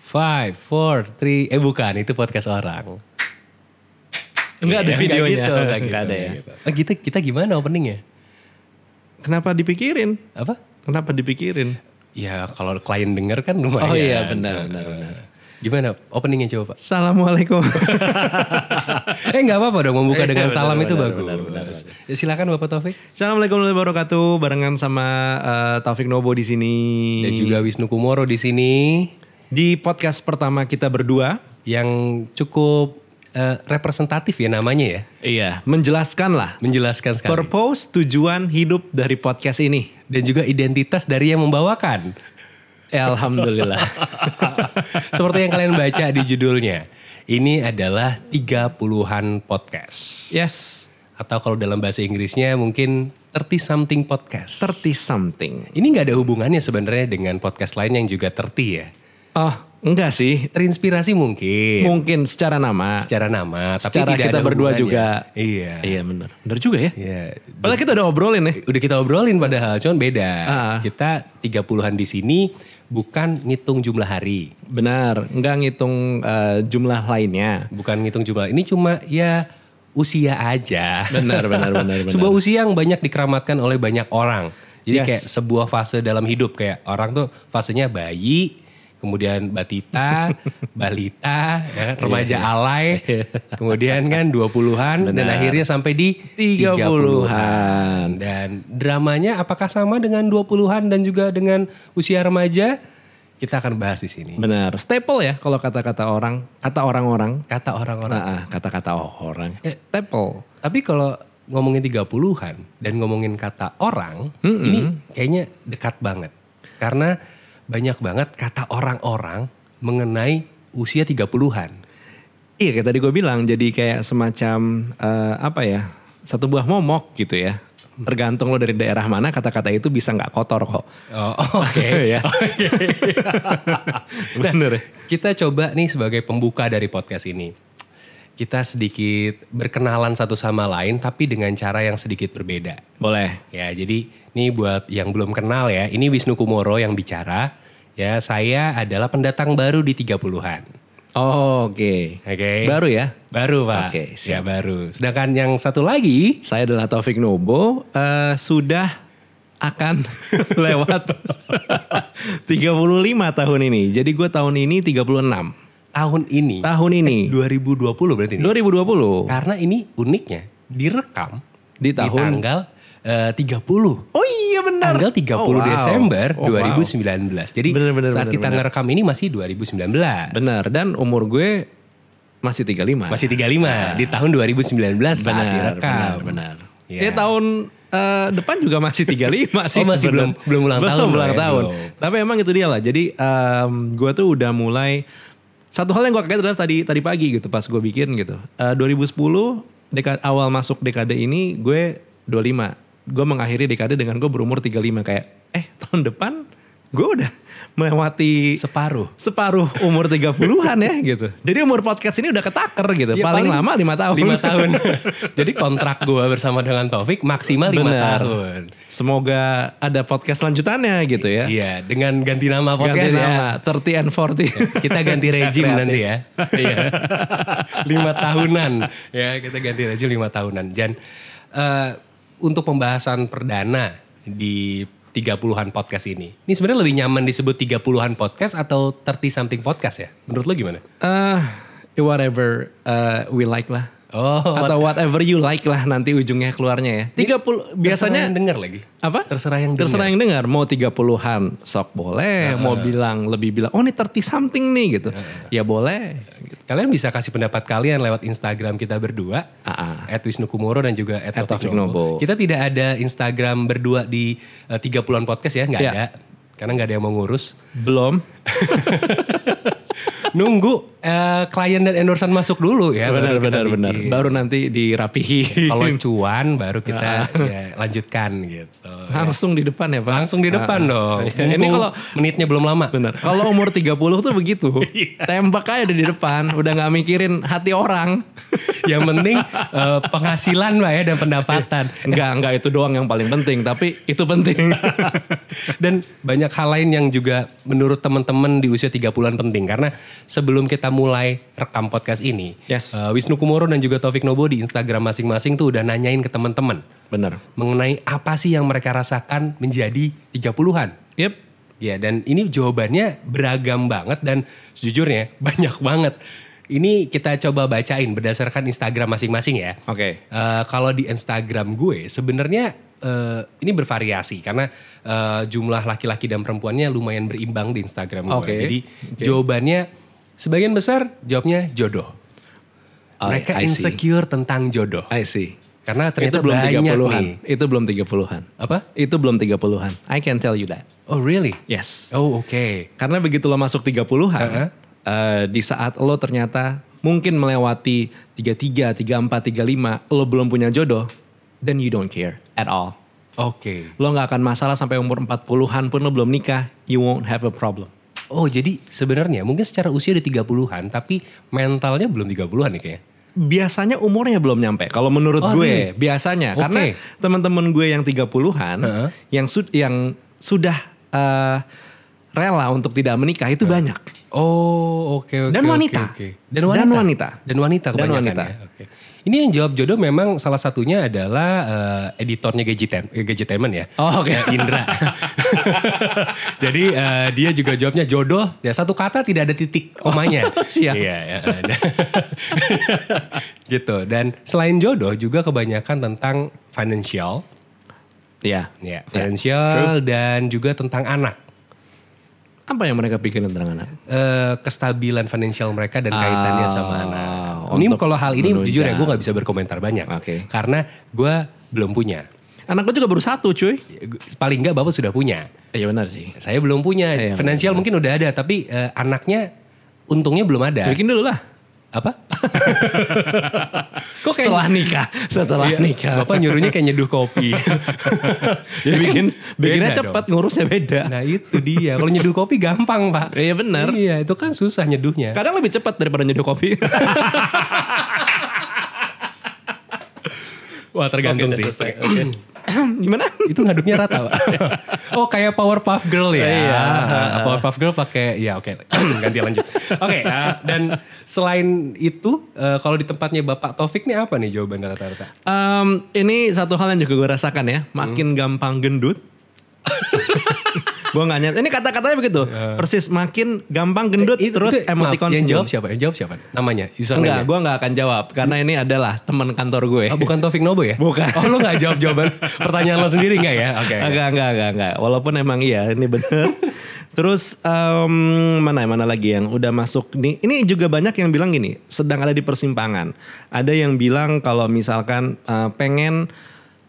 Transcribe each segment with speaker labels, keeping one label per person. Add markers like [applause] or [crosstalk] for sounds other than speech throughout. Speaker 1: Five, four, three. Eh bukan, itu podcast orang.
Speaker 2: Enggak ada
Speaker 1: Iya,
Speaker 2: videonya.
Speaker 1: Gitu, enggak gitu,
Speaker 2: Enggak ada ya.
Speaker 1: gitu. Eh, gitu, kita gimana openingnya?
Speaker 3: Kenapa dipikirin?
Speaker 1: Apa?
Speaker 3: Kenapa dipikirin?
Speaker 1: Ya kalau klien denger kan lumayan. nah,
Speaker 2: Oh iya, benar, benar, benar.
Speaker 1: Gimana openingnya coba Pak?
Speaker 3: Assalamualaikum.
Speaker 1: [laughs] eh nggak apa-apa dong membuka dengan
Speaker 2: benar,
Speaker 1: salam itu
Speaker 2: benar,
Speaker 1: bagus.
Speaker 2: benar, benar,
Speaker 1: Ya, silakan Bapak Taufik
Speaker 3: [laughs] Assalamualaikum warahmatullahi wabarakatuh. Barengan sama eh, Taufik Nobo di sini.
Speaker 1: dan juga Wisnu Kumoro di sini
Speaker 3: Di podcast pertama kita berdua
Speaker 1: yang cukup eh, representatif ya namanya ya.
Speaker 2: Iya.
Speaker 3: menjelaskanlah
Speaker 1: Menjelaskan sekali.
Speaker 3: purpose tujuan hidup dari podcast ini.
Speaker 1: dan juga identitas dari yang membawakan.
Speaker 2: Alhamdulillah.
Speaker 1: [laughs] Seperti yang kalian baca di judulnya. Ini adalah 30-an podcast.
Speaker 3: [laughs] Yes,
Speaker 1: Atau kalau dalam bahasa Inggrisnya mungkin 30 something podcast.
Speaker 3: 30 something.
Speaker 1: Ini nggak ada hubungannya sebenarnya dengan podcast lain yang juga 30 ya.
Speaker 3: Oh, enggak sih.
Speaker 1: Terinspirasi mungkin
Speaker 3: Mungkin secara nama.
Speaker 1: Iya. secara nama, tapi
Speaker 2: Secara
Speaker 1: tidak
Speaker 2: kita
Speaker 1: ada
Speaker 2: berdua
Speaker 1: hubungannya.
Speaker 2: juga.
Speaker 1: Iya.
Speaker 2: iya benar.
Speaker 3: Bener juga ya.
Speaker 1: Iya.
Speaker 3: Padahal kita udah obrolin ya.
Speaker 1: Udah kita obrolin padahal, cuman beda.
Speaker 3: Ah.
Speaker 1: Kita 30-an di sini bukan ngitung jumlah hari,
Speaker 3: Benar, enggak ngitung eh, jumlah lainnya.
Speaker 1: bukan ngitung jumlah. Ini cuma ya usia aja.
Speaker 2: Benar, benar, benar, benar.
Speaker 1: Sebuah usia yang banyak dikeramatkan oleh banyak orang. Jadi
Speaker 3: Yes.
Speaker 1: kayak sebuah fase dalam hidup kayak orang tuh fasenya bayi, kemudian batita, balita, ya kan, remaja alay, kemudian kan 20-an dan akhirnya sampai di
Speaker 3: 30-an.
Speaker 1: Dan dramanya apakah sama dengan 20-an dan juga dengan usia remaja? Kita akan bahas di sini.
Speaker 3: Benar, staple ya kalau kata-kata orang, kata orang-orang.
Speaker 1: Kata orang-orang
Speaker 3: Ah, ah, kata-kata orang. Staple.
Speaker 1: Tapi kalau ngomongin 30-an dan ngomongin kata orang, ini kayaknya dekat banget. Karena banyak banget kata orang-orang mengenai usia 30-an.
Speaker 3: Iya, kayak tadi gue bilang jadi kayak semacam eh, apa ya? Satu buah momok gitu ya. Tergantung lo dari daerah mana kata-kata itu bisa nggak kotor kok.
Speaker 1: Oh, [laughs] oke.
Speaker 3: ya. Bener. ya?
Speaker 1: Kita coba nih sebagai pembuka dari podcast ini. Kita sedikit berkenalan satu sama lain tapi dengan cara yang sedikit berbeda.
Speaker 3: Boleh.
Speaker 1: Ya, jadi ini buat yang belum kenal ya, ini Wisnu Kumoro yang bicara. Ya, saya adalah pendatang baru di 30-an.
Speaker 3: Oh, Oke.
Speaker 1: Oke.
Speaker 3: Baru ya.
Speaker 1: Baru pak.
Speaker 3: Oke,
Speaker 1: ya baru. Sedangkan yang satu lagi
Speaker 3: Saya adalah Taufik Nobo. eh, sudah akan [laughs] lewat [laughs] 35 tahun ini. Jadi gue tahun ini 36.
Speaker 1: tahun ini
Speaker 3: Tahun ini
Speaker 1: 2020 berarti
Speaker 3: Eh,
Speaker 1: ini.
Speaker 3: 2020.
Speaker 1: Karena ini uniknya direkam
Speaker 3: Di tahun-
Speaker 1: tanggal eh, 30.
Speaker 3: Oh iya benar.
Speaker 1: Tanggal 30
Speaker 3: Oh, wow.
Speaker 1: Desember
Speaker 3: Oh, wow.
Speaker 1: 2019. Jadi
Speaker 3: Bener, bener,
Speaker 1: saat
Speaker 3: bener,
Speaker 1: kita
Speaker 3: bener.
Speaker 1: ngerekam ini masih 2019.
Speaker 3: Benar dan umur gue masih 35.
Speaker 1: Masih 35 di tahun 2019 saat direkam.
Speaker 2: benar.
Speaker 3: Ya, tahun eh, depan juga masih 35 sih.
Speaker 1: Iya. Oh, masih
Speaker 3: sebenarnya.
Speaker 1: belum- belum ulang tahun
Speaker 3: Belum
Speaker 1: loh
Speaker 3: ulang
Speaker 1: ya,
Speaker 3: tahun.
Speaker 1: belum.
Speaker 3: Tapi emang itu dia lah. Jadi em, gue tuh udah mulai satu hal yang gue kaget adalah tadi tadi pagi gitu pas gue bikin gitu. Eh, 2010 deka- awal masuk dekade ini gue 25. Gue mengakhiri dekade dengan gue berumur 35 kayak eh tahun depan gue udah melewati
Speaker 1: Separuh.
Speaker 3: separuh umur 30-an ya gitu. Jadi umur podcast ini udah ketaker gitu.
Speaker 1: Ya,
Speaker 3: paling, lama 5 tahun.
Speaker 1: Lima tahun.
Speaker 3: [laughs]
Speaker 1: Jadi kontrak gua bersama dengan Taufik maksimal 5
Speaker 3: Benar.
Speaker 1: tahun.
Speaker 3: Semoga ada podcast lanjutannya gitu ya.
Speaker 1: Iya, dengan ganti nama podcast
Speaker 3: Ganti
Speaker 1: ya. Iya.
Speaker 3: nama 30 and 40.
Speaker 1: kita ganti rejim nanti ya.
Speaker 3: [laughs]
Speaker 1: Iya. lima tahunan ya kita ganti rejim lima tahunan. Dan eh, untuk pembahasan perdana di 30-an podcast ini. Ini sebenarnya lebih nyaman disebut 30-an podcast atau 30 something podcast ya? Menurut lo gimana?
Speaker 3: Eh, whatever eh, we like lah.
Speaker 1: Oh, Iya,
Speaker 3: Atau whatever you like lah nanti ujungnya keluarnya ya. 30 biasanya
Speaker 1: biasanya denger lagi.
Speaker 3: apa?
Speaker 1: Terserah yang
Speaker 3: Terserah yang dengar mau 30-an sok boleh,
Speaker 1: Iya.
Speaker 3: mau bilang lebih bilang oh ini 30 something nih gitu.
Speaker 1: Iya,
Speaker 3: Ya boleh.
Speaker 1: Kalian bisa kasih pendapat kalian lewat Instagram kita berdua.
Speaker 3: Ah,
Speaker 1: At Wisnu Kumoro dan juga at Taufik
Speaker 3: Taufik
Speaker 1: Nobo.
Speaker 3: Nobo.
Speaker 1: Kita tidak ada Instagram berdua di eh, 30-an podcast ya. Nggak
Speaker 3: Iya.
Speaker 1: ada. Karena nggak ada yang mau ngurus.
Speaker 3: Belum.
Speaker 1: [laughs] nunggu eh, klien dan endorsan masuk dulu ya. baru kita
Speaker 3: benar benar benar.
Speaker 1: bikin.
Speaker 3: Baru nanti dirapihi.
Speaker 1: Kalau cuan baru
Speaker 3: [laughs]
Speaker 1: kita ya, lanjutkan gitu.
Speaker 3: Langsung di depan ya, Pak.
Speaker 1: Langsung di depan dong.
Speaker 3: Iya. Ini
Speaker 1: Mumpung
Speaker 3: kalau-
Speaker 1: menitnya belum lama.
Speaker 3: Benar. Kalau umur 30 tuh begitu.
Speaker 1: [laughs] Iya.
Speaker 3: Tembak aja di depan, udah nggak mikirin hati orang.
Speaker 1: Yang penting eh, penghasilan lah ya dan pendapatan.
Speaker 3: Enggak, enggak itu doang yang paling penting, tapi itu
Speaker 1: [laughs]
Speaker 3: penting.
Speaker 1: Dan banyak hal lain yang juga menurut teman-teman di usia 30-an penting karena sebelum kita mulai rekam podcast ini,
Speaker 3: Yes.
Speaker 1: eh, Wisnu Kumoro dan juga Taufik Nobo di Instagram masing-masing tuh udah nanyain ke teman-teman
Speaker 3: Benar.
Speaker 1: mengenai apa sih yang mereka rasakan menjadi 30-an.
Speaker 3: Yep.
Speaker 1: Ya, dan ini jawabannya beragam banget dan sejujurnya [laughs] banyak banget. Ini kita coba bacain berdasarkan Instagram masing-masing ya.
Speaker 3: Oke.
Speaker 1: Eh, kalau di Instagram gue sebenarnya eh, ini bervariasi karena eh, jumlah laki-laki dan perempuannya lumayan berimbang di Instagram gue.
Speaker 3: Oke.
Speaker 1: Jadi jawabannya sebagian besar jawabnya jodoh.
Speaker 3: Oh,
Speaker 1: Mereka
Speaker 3: I see.
Speaker 1: insecure tentang jodoh.
Speaker 3: I see.
Speaker 1: Karena
Speaker 3: Itu
Speaker 1: ternyata
Speaker 3: belum
Speaker 1: banyak
Speaker 3: 30-an.
Speaker 1: nih.
Speaker 3: Itu belum 30-an.
Speaker 1: Apa?
Speaker 3: Itu belum 30-an. I can tell you that.
Speaker 1: Oh really?
Speaker 3: Yes.
Speaker 1: Oh oke.
Speaker 3: Karena begitu lo masuk 30-an,
Speaker 1: Heeh.
Speaker 3: eh, di saat lo ternyata mungkin melewati 33, 34, 35, lo belum punya jodoh, then you don't care at all.
Speaker 1: Oke.
Speaker 3: Lo nggak akan masalah sampai umur 40-an pun lo belum nikah, you won't have a problem.
Speaker 1: Oh jadi sebenarnya mungkin secara usia udah 30-an tapi mentalnya belum 30-an nih kayaknya.
Speaker 3: biasanya umurnya belum nyampe. Kalau menurut
Speaker 1: Oh, really?
Speaker 3: gue biasanya
Speaker 1: Oke.
Speaker 3: karena teman-teman gue yang 30-an yang sud- yang sudah eh, rela untuk tidak menikah itu banyak.
Speaker 1: Oh, oke oke.
Speaker 3: Dan
Speaker 1: oke,
Speaker 3: wanita.
Speaker 1: oke. Dan
Speaker 3: Dan
Speaker 1: wanita.
Speaker 3: wanita.
Speaker 1: Dan wanita
Speaker 3: Dan
Speaker 1: kebanyakan
Speaker 3: wanita.
Speaker 1: ya. Oke. Ini yang jawab jodoh memang salah satunya adalah eh, editornya Gadgetem, eh, Gadgetainment ya.
Speaker 3: Oh, oke.
Speaker 1: Ya,
Speaker 3: [laughs]
Speaker 1: Indra. Jadi eh, dia juga jawabnya jodoh. Ya satu kata tidak ada titik komanya.
Speaker 3: Oh, siap.
Speaker 1: Iya, ya, ada. [laughs] gitu. Dan selain jodoh juga kebanyakan tentang financial,
Speaker 3: Iya.
Speaker 1: ya, financial dan juga tentang anak.
Speaker 3: Apa yang mereka pikirin tentang anak?
Speaker 1: eh, kestabilan finansial mereka dan kaitannya sama anak.
Speaker 3: Ah,
Speaker 1: Ini
Speaker 3: untuk
Speaker 1: kalau hal ini
Speaker 3: menunjang.
Speaker 1: jujur ya gue nggak bisa berkomentar banyak
Speaker 3: Oke.
Speaker 1: karena gue belum punya.
Speaker 3: Anak gue juga baru satu, cuy.
Speaker 1: Paling nggak bapak sudah punya.
Speaker 3: Iya benar sih.
Speaker 1: Saya belum punya.
Speaker 3: Iya,
Speaker 1: finansial mungkin udah ada tapi eh, anaknya untungnya belum ada.
Speaker 3: Ya. Bikin dulu lah. [laughs]
Speaker 1: Apa?
Speaker 3: Kok setelah nikah, setelah
Speaker 1: Iya,
Speaker 3: nikah.
Speaker 1: Bapak nyuruhnya kayak nyeduh
Speaker 3: [laughs]
Speaker 1: kopi.
Speaker 3: Jadi bikin bikinnya
Speaker 1: Ya, Beda
Speaker 3: cepat, ngurusnya beda.
Speaker 1: nah itu dia. Kalau nyeduh kopi gampang pak.
Speaker 3: Iya benar.
Speaker 1: Iya itu kan susah nyeduhnya.
Speaker 3: Kadang lebih cepat daripada nyeduh kopi.
Speaker 1: Wah tergantung
Speaker 3: Oke,
Speaker 1: sih.
Speaker 3: selesai. Oke. [clears throat] Gimana?
Speaker 1: itu ngaduknya rata pak [laughs] oh kayak Powerpuff Girl ya
Speaker 3: Iya.
Speaker 1: Ah, Powerpuff Girl pakai ya oke [clears throat] ganti lanjut oke ah, dan selain itu eh, kalau di tempatnya Bapak Taufik nih apa nih jawaban rata-rata
Speaker 3: Em, ini satu hal yang juga gue rasakan ya, makin gampang gendut. gue nggak nyet. Ini kata-katanya begitu, persis makin gampang gendut terus
Speaker 1: Eh, Itu- maaf,
Speaker 3: emoticon
Speaker 1: yang jawab
Speaker 3: senyum.
Speaker 1: siapa yang jawab siapa namanya username
Speaker 3: Enggak, gue nggak akan jawab karena ini adalah teman kantor gue.
Speaker 1: bukan Taufik Nobo ya
Speaker 3: Bukan.
Speaker 1: oh lo nggak jawab [laughs] jawaban pertanyaan lo sendiri nggak ya oke
Speaker 3: Enggak, enggak, enggak, enggak. Walaupun emang iya, ini
Speaker 1: [laughs]
Speaker 3: bener. Terus em, mana mana lagi yang udah masuk nih? Ini juga banyak yang bilang gini, sedang ada di persimpangan. Ada yang bilang kalau misalkan eh, pengen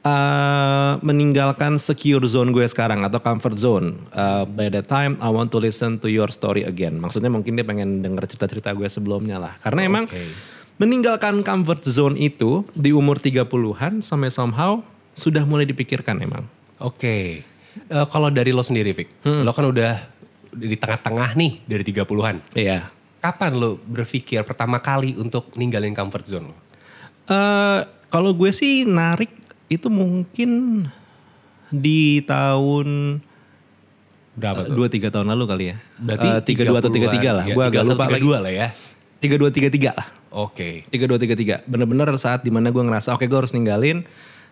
Speaker 3: eh, meninggalkan secure zone gue sekarang atau comfort zone. Eh, by the time I want to listen to your story again. Maksudnya mungkin dia pengen denger cerita-cerita gue sebelumnya lah. Karena emang meninggalkan comfort zone itu di umur 30-an sampai somehow sudah mulai dipikirkan emang.
Speaker 1: oke Eh, kalau dari lo sendiri Fik lo kan udah di tengah-tengah nih dari 30-an
Speaker 3: Iya.
Speaker 1: kapan lo berpikir pertama kali untuk ninggalin comfort zone lo
Speaker 3: Eh, kalau gue sih narik itu mungkin di tahun
Speaker 1: berapa tuh
Speaker 3: dua tiga tahun lalu kali ya.
Speaker 1: Berarti
Speaker 3: tiga dua atau tiga
Speaker 1: 30-an.
Speaker 3: tiga lah.
Speaker 1: Ya,
Speaker 3: gue agak
Speaker 1: 31,
Speaker 3: lupa lagi.
Speaker 1: 32 lah ya.
Speaker 3: Tiga dua tiga tiga lah.
Speaker 1: Oke.
Speaker 3: Tiga dua tiga tiga. Bener-bener saat dimana gue ngerasa oke gue harus ninggalin.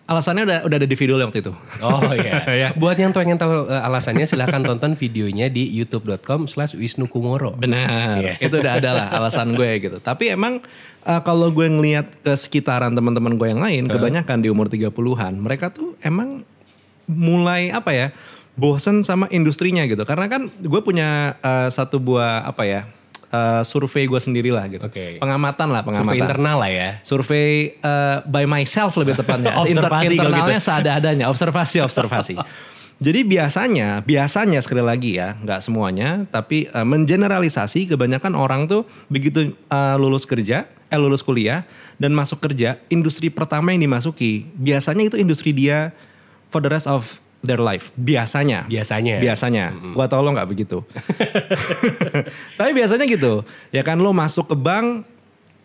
Speaker 3: Alasannya udah udah ada di video waktu itu.
Speaker 1: [laughs] Oh iya. Buat yang pengen tahu eh, alasannya silahkan tonton videonya di youtube.com slash Wisnu Kumoro.
Speaker 3: Benar, Iya. itu udah ada lah alasan gue gitu. Tapi emang uh, kalau gue ngelihat ke sekitaran teman-teman gue yang
Speaker 1: Eh.
Speaker 3: lain, kebanyakan di umur 30-an, mereka tuh emang mulai apa ya? bosen sama industrinya gitu. Karena kan gue punya uh, satu buah apa ya? uh, survei gue sendiri lah gitu.
Speaker 1: Oke.
Speaker 3: Pengamatan lah, pengamatan.
Speaker 1: Survei internal lah ya.
Speaker 3: Survei uh, by myself lebih tepatnya. [laughs]
Speaker 1: Observasi kalau
Speaker 3: internalnya seadanya, observasi, observasi. [laughs] Jadi biasanya, biasanya sekali lagi ya, nggak semuanya, tapi eh, mengeneralisasi kebanyakan orang tuh begitu eh, lulus kerja, eh lulus kuliah dan masuk kerja, industri pertama yang dimasuki biasanya itu industri dia for the rest of their life. Biasanya.
Speaker 1: Biasanya.
Speaker 3: Biasanya. Gua tau lo nggak begitu. [laughs] tapi biasanya gitu. Ya kan lo masuk ke bank,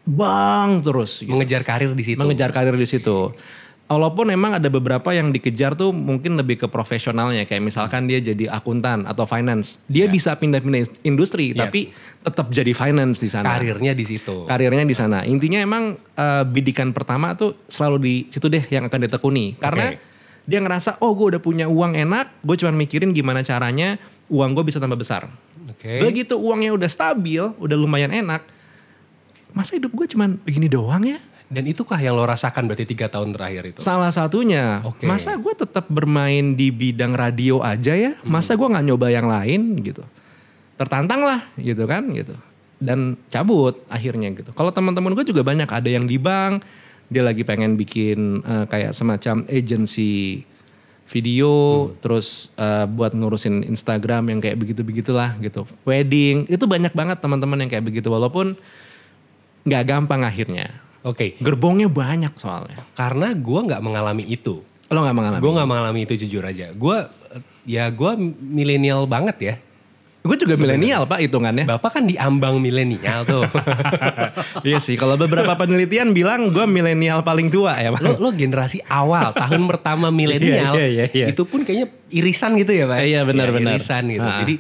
Speaker 3: bank terus. gitu
Speaker 1: Mengejar karir di situ.
Speaker 3: mengejar karir di situ. Walaupun memang ada beberapa yang dikejar tuh mungkin lebih ke profesionalnya kayak misalkan dia jadi akuntan atau finance. Dia bisa pindah-pindah industri tapi tetap jadi finance di sana.
Speaker 1: Karirnya di situ.
Speaker 3: Karirnya di sana. Intinya emang eh, bidikan pertama tuh selalu di situ deh yang akan ditekuni karena dia ngerasa oh gue udah punya uang enak, gue cuma mikirin gimana caranya uang gue bisa tambah besar.
Speaker 1: Oke.
Speaker 3: Begitu uangnya udah stabil, udah lumayan enak. Masa hidup gue cuman begini doang ya?
Speaker 1: Dan itukah yang lo rasakan berarti tiga tahun terakhir itu?
Speaker 3: Salah satunya.
Speaker 1: Oke.
Speaker 3: Masa gue tetap bermain di bidang radio aja ya? Masa gue nggak nyoba yang lain gitu? Tertantang lah gitu kan gitu. Dan cabut akhirnya gitu. Kalau teman-teman gue juga banyak ada yang di bank, dia lagi pengen bikin eh, kayak semacam agency video, terus eh, buat ngurusin Instagram yang kayak begitu-begitulah gitu. Wedding, itu banyak banget teman-teman yang kayak begitu walaupun nggak gampang akhirnya.
Speaker 1: Oke.
Speaker 3: Gerbongnya banyak soalnya.
Speaker 1: Karena gue nggak mengalami itu.
Speaker 3: Lo nggak mengalami?
Speaker 1: Gue nggak mengalami itu jujur aja. Gue ya gue milenial banget ya.
Speaker 3: Gue juga milenial pak hitungannya.
Speaker 1: Bapak kan di ambang milenial tuh.
Speaker 3: [laughs]
Speaker 1: [laughs]
Speaker 3: iya sih, kalau beberapa penelitian bilang gue milenial paling tua ya
Speaker 1: lo, lo generasi awal
Speaker 3: [laughs]
Speaker 1: tahun pertama milenial
Speaker 3: Iya, iya, iya.
Speaker 1: itu pun kayaknya irisan gitu ya pak
Speaker 3: Iya,
Speaker 1: Ya,
Speaker 3: benar, benar.
Speaker 1: irisan gitu
Speaker 3: Ah.
Speaker 1: jadi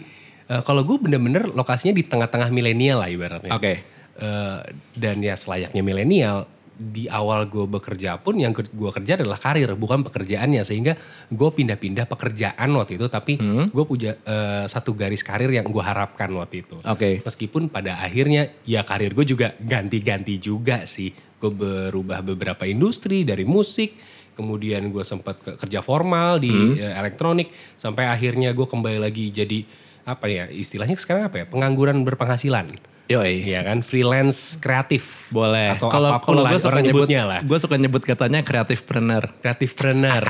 Speaker 1: eh, kalau gue bener-bener lokasinya di tengah-tengah milenial lah ibaratnya
Speaker 3: Oke.
Speaker 1: Eh, dan ya selayaknya milenial di awal gue bekerja pun yang gue kerja adalah karir bukan pekerjaannya sehingga gue pindah-pindah pekerjaan waktu itu tapi gue punya eh, satu garis karir yang gue harapkan waktu itu
Speaker 3: Oke.
Speaker 1: Meskipun pada akhirnya ya karir gue juga ganti-ganti juga sih. Gue berubah beberapa industri dari musik, kemudian gue sempat ke- kerja formal di eh, elektronik, sampai akhirnya gue kembali lagi jadi apa ya istilahnya sekarang apa ya pengangguran berpenghasilan.
Speaker 3: Yoi.
Speaker 1: Iya kan freelance kreatif
Speaker 3: Boleh.
Speaker 1: atau
Speaker 3: Kalau
Speaker 1: apapun
Speaker 3: kalau
Speaker 1: lah
Speaker 3: gue suka
Speaker 1: orang
Speaker 3: nyebut,
Speaker 1: nyebutnya lah
Speaker 3: gue suka nyebut katanya kreatif planner.
Speaker 1: kreatif
Speaker 3: [laughs]
Speaker 1: trainer.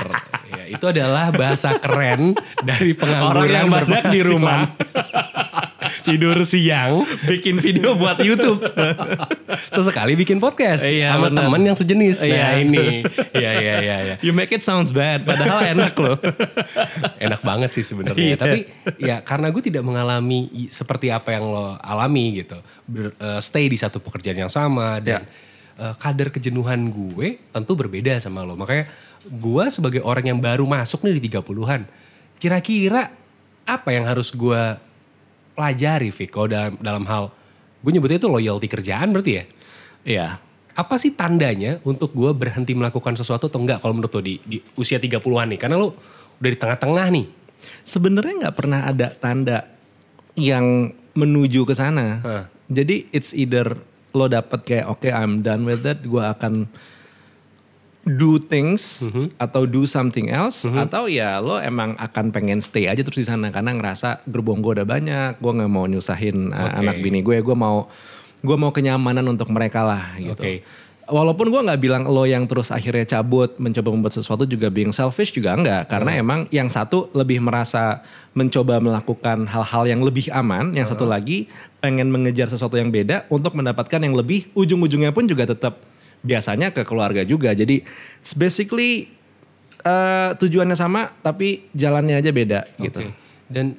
Speaker 1: ya, itu adalah bahasa keren dari pengangguran
Speaker 3: Orang yang
Speaker 1: berpenghasilan.
Speaker 3: badak di rumah.
Speaker 1: [laughs] tidur siang
Speaker 3: Bikin video buat YouTube.
Speaker 1: sesekali bikin podcast
Speaker 3: Iya,
Speaker 1: sama
Speaker 3: benar.
Speaker 1: teman yang sejenis.
Speaker 3: Iya.
Speaker 1: Nah
Speaker 3: [laughs]
Speaker 1: ini, iya iya iya. iya.
Speaker 3: [laughs] you make it sounds bad, padahal enak loh.
Speaker 1: Enak banget sih sebenarnya.
Speaker 3: Iya.
Speaker 1: Tapi ya karena gue tidak mengalami i- seperti apa yang lo alami gitu, Ber- eh, stay di satu pekerjaan yang sama dan eh, kadar kejenuhan gue tentu berbeda sama lo. Makanya gue sebagai orang yang baru masuk nih di 30-an, kira-kira apa yang harus gue pelajari Viko dalam dalam hal gue nyebutnya itu loyalty kerjaan berarti ya?
Speaker 3: Iya.
Speaker 1: apa sih tandanya untuk gue berhenti melakukan sesuatu atau enggak kalau menurut lo di, di usia 30-an nih? Karena lo udah di tengah-tengah nih.
Speaker 3: Sebenarnya nggak pernah ada tanda yang menuju ke sana.
Speaker 1: Hah.
Speaker 3: Jadi it's either lo dapet kayak oke I'm done with that, gue akan do things
Speaker 1: Mhm.
Speaker 3: atau do something else atau ya lo emang akan pengen stay aja terus di sana karena ngerasa gerbong gue udah banyak, gue nggak mau nyusahin uh, anak bini gue, gue mau gue mau kenyamanan untuk mereka lah gitu.
Speaker 1: Oke.
Speaker 3: Walaupun gue nggak bilang lo yang terus akhirnya cabut mencoba membuat sesuatu juga being selfish juga enggak karena emang yang satu lebih merasa mencoba melakukan hal-hal yang lebih aman, yang satu lagi pengen mengejar sesuatu yang beda untuk mendapatkan yang lebih ujung-ujungnya pun juga tetap biasanya ke keluarga juga. Jadi it's basically eh, tujuannya sama tapi jalannya aja beda
Speaker 1: Oke.
Speaker 3: gitu.
Speaker 1: Dan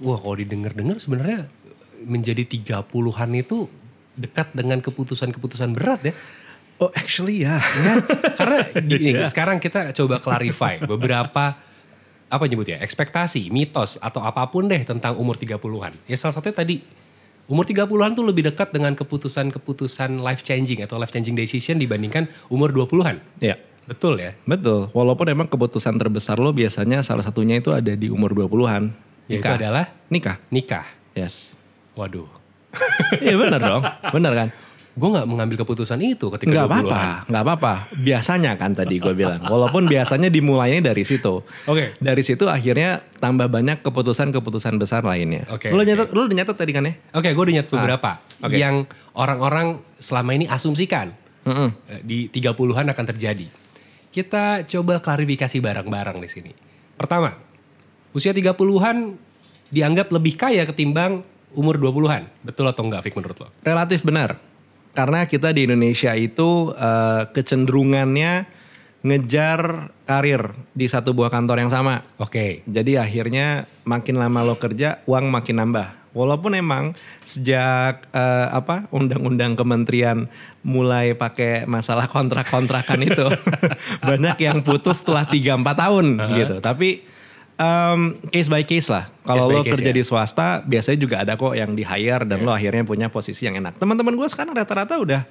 Speaker 1: wah kalau didengar-dengar sebenarnya menjadi 30-an itu dekat dengan keputusan-keputusan berat ya. [laughs]
Speaker 3: Oh actually ya. [laughs]
Speaker 1: Karena gini,
Speaker 3: Iya.
Speaker 1: sekarang kita coba clarify beberapa apa nyebutnya? Ekspektasi, mitos atau apapun deh tentang umur 30-an. Ya salah satunya tadi umur 30-an tuh lebih dekat dengan keputusan-keputusan life changing atau life changing decision dibandingkan umur 20-an.
Speaker 3: Ya.
Speaker 1: Betul ya.
Speaker 3: Betul. Walaupun emang keputusan terbesar lo biasanya salah satunya itu ada di umur 20-an.
Speaker 1: Yaitu adalah
Speaker 3: Nikah.
Speaker 1: nikah.
Speaker 3: Yes.
Speaker 1: Waduh.
Speaker 3: [laughs] Iya bener dong. Bener kan?
Speaker 1: Gue nggak mengambil keputusan itu ketika
Speaker 3: Nggak
Speaker 1: 20-an.
Speaker 3: apa-apa. Nggak apa-apa. Biasanya kan tadi gue bilang. Walaupun biasanya dimulainya dari situ.
Speaker 1: Oke.
Speaker 3: Dari situ akhirnya tambah banyak keputusan-keputusan besar lainnya.
Speaker 1: Oke,
Speaker 3: Lo,
Speaker 1: oke.
Speaker 3: nyatet, lo udah nyatet tadi kan ya?
Speaker 1: Oke, gue udah nyatet beberapa yang orang-orang selama ini asumsikan eh, di 30-an akan terjadi. Kita coba klarifikasi bareng-bareng di sini. Pertama, usia 30-an dianggap lebih kaya ketimbang umur 20-an. Betul atau enggak Fik menurut lo?
Speaker 3: Relatif benar. Karena kita di Indonesia itu eh, kecenderungannya ngejar karir di satu buah kantor yang sama.
Speaker 1: Oke.
Speaker 3: Jadi akhirnya makin lama lo kerja, uang makin nambah. Walaupun emang sejak eh, apa undang-undang kementerian mulai pakai masalah kontrak-kontrakan itu [laughs] banyak yang putus setelah 3 4 tahun gitu. Tapi em, case by case lah.
Speaker 1: Case
Speaker 3: Kalau
Speaker 1: by
Speaker 3: lo
Speaker 1: case, ya.
Speaker 3: kerja
Speaker 1: Iya.
Speaker 3: di swasta biasanya juga ada kok yang di hire dan lo akhirnya punya posisi yang enak. Teman-teman gue sekarang rata-rata udah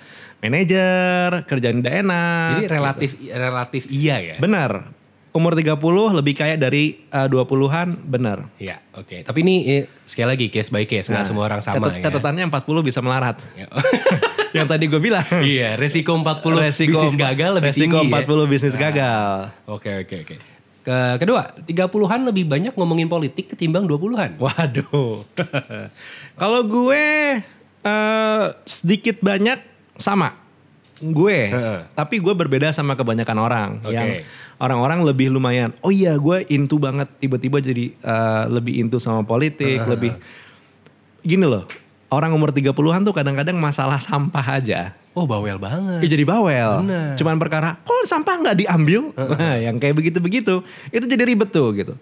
Speaker 3: manajer, kerjaan udah enak.
Speaker 1: Jadi relatif relatif iya ya.
Speaker 3: Benar. Umur 30 lebih kaya dari eh, 20-an, benar.
Speaker 1: Iya, oke. Tapi ini eh, sekali lagi case by case, nggak
Speaker 3: Nah,
Speaker 1: semua orang sama
Speaker 3: Catat-
Speaker 1: ya.
Speaker 3: Catatannya 40 bisa melarat.
Speaker 1: Ya.
Speaker 3: [laughs] yang tadi gue bilang.
Speaker 1: [laughs] Iya, resiko 40 bisnis gagal lebih
Speaker 3: resiko
Speaker 1: tinggi. ya.
Speaker 3: 40 bisnis gagal.
Speaker 1: Oke, oke, oke. Ke- kedua, 30-an lebih banyak ngomongin politik ketimbang 20-an.
Speaker 3: Waduh. Kalau gue eh, sedikit banyak sama. Gue,
Speaker 1: Heeh.
Speaker 3: tapi gue berbeda sama kebanyakan orang
Speaker 1: Oke.
Speaker 3: yang orang-orang lebih lumayan. Oh iya, gue into banget tiba-tiba jadi eh, lebih into sama politik, lebih gini loh. Orang umur 30-an tuh kadang-kadang masalah sampah aja.
Speaker 1: [laughs] Oh, bawel banget.
Speaker 3: Ya jadi bawel. Cuman perkara kok sampah nggak diambil, Nah, yang kayak begitu-begitu itu jadi ribet tuh gitu.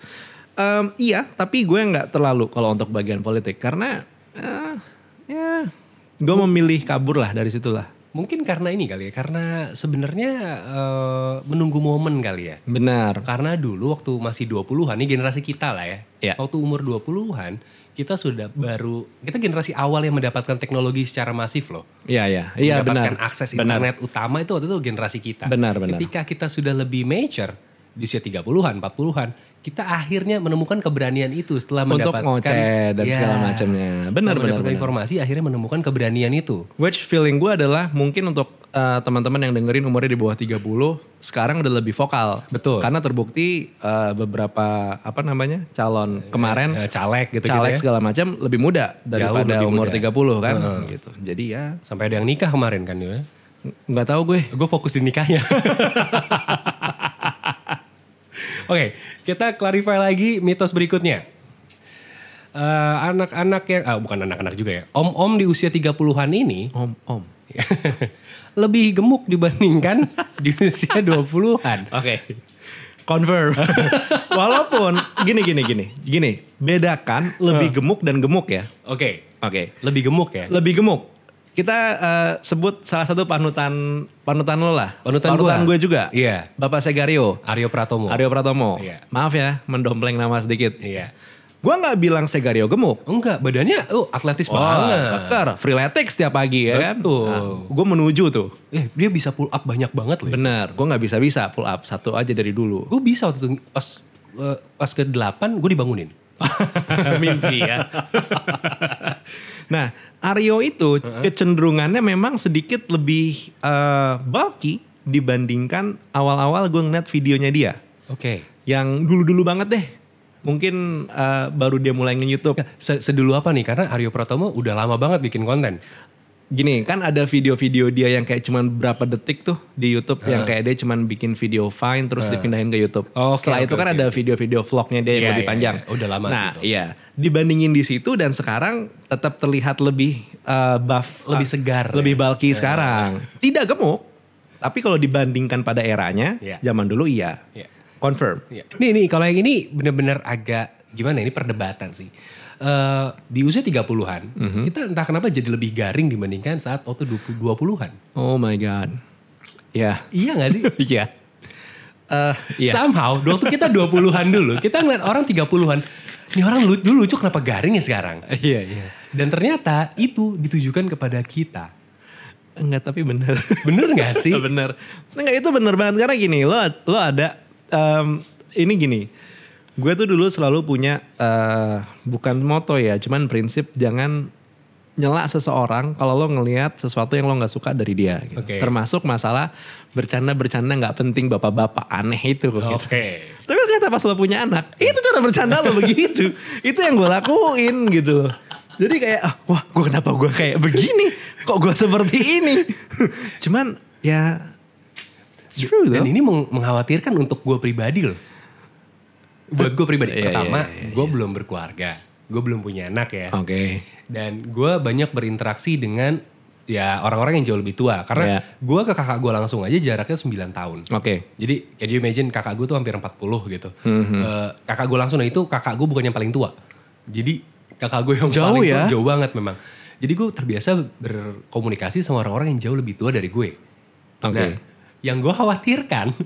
Speaker 3: Em, iya, tapi gue nggak terlalu kalau untuk bagian politik karena eh, ya gue memilih kabur lah dari situlah.
Speaker 1: Mungkin karena ini kali ya, karena sebenarnya eh, menunggu momen kali ya.
Speaker 3: Benar.
Speaker 1: Karena dulu waktu masih 20-an, ini generasi kita lah ya.
Speaker 3: Iya.
Speaker 1: Waktu umur 20-an, kita sudah baru, kita generasi awal yang mendapatkan teknologi secara masif loh.
Speaker 3: Iya iya iya
Speaker 1: mendapatkan
Speaker 3: benar.
Speaker 1: akses
Speaker 3: Benar.
Speaker 1: internet utama itu waktu itu generasi kita.
Speaker 3: Benar, benar.
Speaker 1: Ketika kita sudah lebih mature di usia 30-an, 40-an, kita akhirnya menemukan keberanian itu setelah
Speaker 3: Untuk
Speaker 1: mendapatkan
Speaker 3: ngoceh dan
Speaker 1: Ya.
Speaker 3: segala macamnya. Benar
Speaker 1: Setelah
Speaker 3: benar.
Speaker 1: mendapatkan
Speaker 3: benar.
Speaker 1: informasi akhirnya menemukan keberanian itu.
Speaker 3: Which feeling gue adalah mungkin untuk eh, teman-teman yang dengerin umurnya di bawah 30 sekarang udah lebih vokal.
Speaker 1: Betul.
Speaker 3: Karena terbukti eh, beberapa apa namanya? calon kemarin
Speaker 1: Eh, caleg gitu gitu
Speaker 3: caleg
Speaker 1: ya.
Speaker 3: segala macam lebih muda daripada
Speaker 1: lebih
Speaker 3: umur
Speaker 1: muda.
Speaker 3: 30 kan gitu. Jadi ya
Speaker 1: Sampai ada yang nikah kemarin kan ya.
Speaker 3: nggak tahu gue.
Speaker 1: Gue fokus di nikahnya. [laughs] Oke, kita clarify lagi mitos berikutnya. Eh, anak-anak yang, ah bukan anak-anak juga ya, om-om di usia 30-an ini
Speaker 3: Om om.
Speaker 1: [laughs] lebih gemuk dibandingkan di usia 20-an.
Speaker 3: Oke.
Speaker 1: [laughs]
Speaker 3: Confirm. Walaupun gini gini gini. Gini, bedakan lebih gemuk dan gemuk ya.
Speaker 1: Oke,
Speaker 3: Oke.
Speaker 1: lebih gemuk ya.
Speaker 3: Lebih gemuk. Kita eh, sebut salah satu panutan panutan lo lah.
Speaker 1: Panutan gua.
Speaker 3: gue juga.
Speaker 1: Iya.
Speaker 3: Bapak Segario.
Speaker 1: Aryo Pratomo.
Speaker 3: Aryo Pratomo.
Speaker 1: Iya.
Speaker 3: Maaf ya, mendompleng nama sedikit.
Speaker 1: Iya.
Speaker 3: Gua nggak bilang Segario gemuk.
Speaker 1: Enggak, badannya oh atletis
Speaker 3: Wah,
Speaker 1: banget.
Speaker 3: keker. Freeletics tiap pagi ya kan?
Speaker 1: Betul.
Speaker 3: gue menuju tuh.
Speaker 1: Eh, dia bisa pull up banyak banget loh.
Speaker 3: Bener, gue nggak bisa-bisa pull up. Satu aja dari dulu.
Speaker 1: Gue bisa waktu itu pas eh, pas ke 8 gue dibangunin.
Speaker 3: [laughs] Mimpi ya. [laughs] nah, Aryo itu kecenderungannya memang sedikit lebih eh, bulky dibandingkan awal-awal gue ngeliat videonya dia.
Speaker 1: Oke.
Speaker 3: Yang dulu-dulu banget deh. Mungkin eh, baru dia mulai nge-youtube.
Speaker 1: Se- Sedulu apa nih? Karena Aryo Pratomo udah lama banget bikin konten.
Speaker 3: Gini kan ada video-video dia yang kayak cuman berapa detik tuh di YouTube yang kayak dia cuman bikin video fine terus dipindahin ke YouTube.
Speaker 1: Oh, Oke, oke,
Speaker 3: Setelah itu kan
Speaker 1: oke,
Speaker 3: ada video-video vlognya dia yang
Speaker 1: Iya,
Speaker 3: lebih
Speaker 1: iya,
Speaker 3: panjang.
Speaker 1: iya. Udah lama sih
Speaker 3: Nah
Speaker 1: itu.
Speaker 3: iya dibandingin di situ dan sekarang tetap terlihat lebih eh, buff,
Speaker 1: Lebih
Speaker 3: ah,
Speaker 1: segar ya.
Speaker 3: lebih bulky sekarang. Tidak gemuk, tapi kalau dibandingkan pada eranya
Speaker 1: Iya.
Speaker 3: zaman dulu iya,
Speaker 1: Iya.
Speaker 3: confirm.
Speaker 1: Nih nih kalau yang ini bener-bener agak gimana ini perdebatan sih. Eh, di usia 30-an,
Speaker 3: Mhm.
Speaker 1: kita entah kenapa jadi lebih garing dibandingkan saat waktu 20- 20-an.
Speaker 3: Oh my god, ya,
Speaker 1: Iya gak sih?
Speaker 3: iya. [laughs] Eh, iya.
Speaker 1: Somehow, waktu kita 20-an dulu, kita ngeliat orang 30-an, ini orang lu- dulu lucu kenapa garing ya sekarang?
Speaker 3: Iya, iya.
Speaker 1: Dan ternyata itu ditujukan kepada kita.
Speaker 3: Enggak tapi bener. [laughs]
Speaker 1: Bener gak sih?
Speaker 3: Iya, bener. Enggak itu bener banget karena gini lo lo ada em, ini gini. Gue tuh dulu selalu punya eh, bukan moto ya, cuman prinsip jangan nyela seseorang kalau lo ngelihat sesuatu yang lo nggak suka dari dia. gitu.
Speaker 1: Oke.
Speaker 3: Termasuk masalah bercanda-bercanda nggak penting bapak-bapak aneh itu.
Speaker 1: Oh.
Speaker 3: gitu. Tapi ternyata pas lo punya anak, itu cara bercanda lo begitu. Itu yang gue lakuin gitu loh. Jadi kayak, ah, wah gue kenapa gue kayak begini? Kok gue seperti ini? [laughs] Cuman ya, it's true
Speaker 1: Gitu. Dan
Speaker 3: though.
Speaker 1: ini meng- mengkhawatirkan untuk gue pribadi loh. buat gue
Speaker 3: Iya,
Speaker 1: pribadi pertama gue belum berkeluarga gue belum punya anak ya
Speaker 3: Oke.
Speaker 1: dan gue banyak berinteraksi dengan ya orang-orang yang jauh lebih tua
Speaker 3: Iya. Oh.
Speaker 1: karena gue ke kakak gue langsung aja jaraknya 9 tahun
Speaker 3: Oke.
Speaker 1: jadi can you imagine kakak gue tuh hampir 40 gitu
Speaker 3: Mhm.
Speaker 1: Eh, kakak gue langsung dan itu kakak gue bukan yang paling tua jadi kakak gue yang
Speaker 3: Jauh
Speaker 1: paling tua
Speaker 3: ya?
Speaker 1: jauh banget memang jadi gue terbiasa berkomunikasi sama orang-orang yang jauh lebih tua dari gue
Speaker 3: Oke.
Speaker 1: nah yang gue khawatirkan [laughs]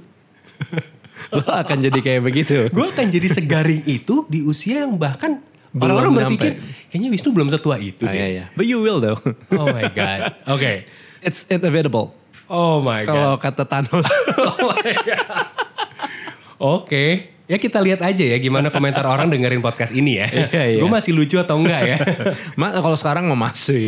Speaker 3: Lo akan jadi kayak begitu. [laughs]
Speaker 1: gue akan jadi segaring itu di usia yang bahkan orang-orang
Speaker 3: nyampe.
Speaker 1: berpikir kayaknya Wisnu belum setua itu
Speaker 3: Ah, iya,
Speaker 1: deh
Speaker 3: iya. But you will though.
Speaker 1: Oh my god. Oke.
Speaker 3: [laughs] It's inevitable.
Speaker 1: Oh my god.
Speaker 3: Kalau kata [laughs] Thanos.
Speaker 1: Oke. Ya kita lihat aja ya gimana komentar orang dengerin podcast ini ya.
Speaker 3: Iya, iya.
Speaker 1: Gue masih lucu atau enggak ya? [laughs]
Speaker 3: Ma, kalau sekarang mah Iya, masih.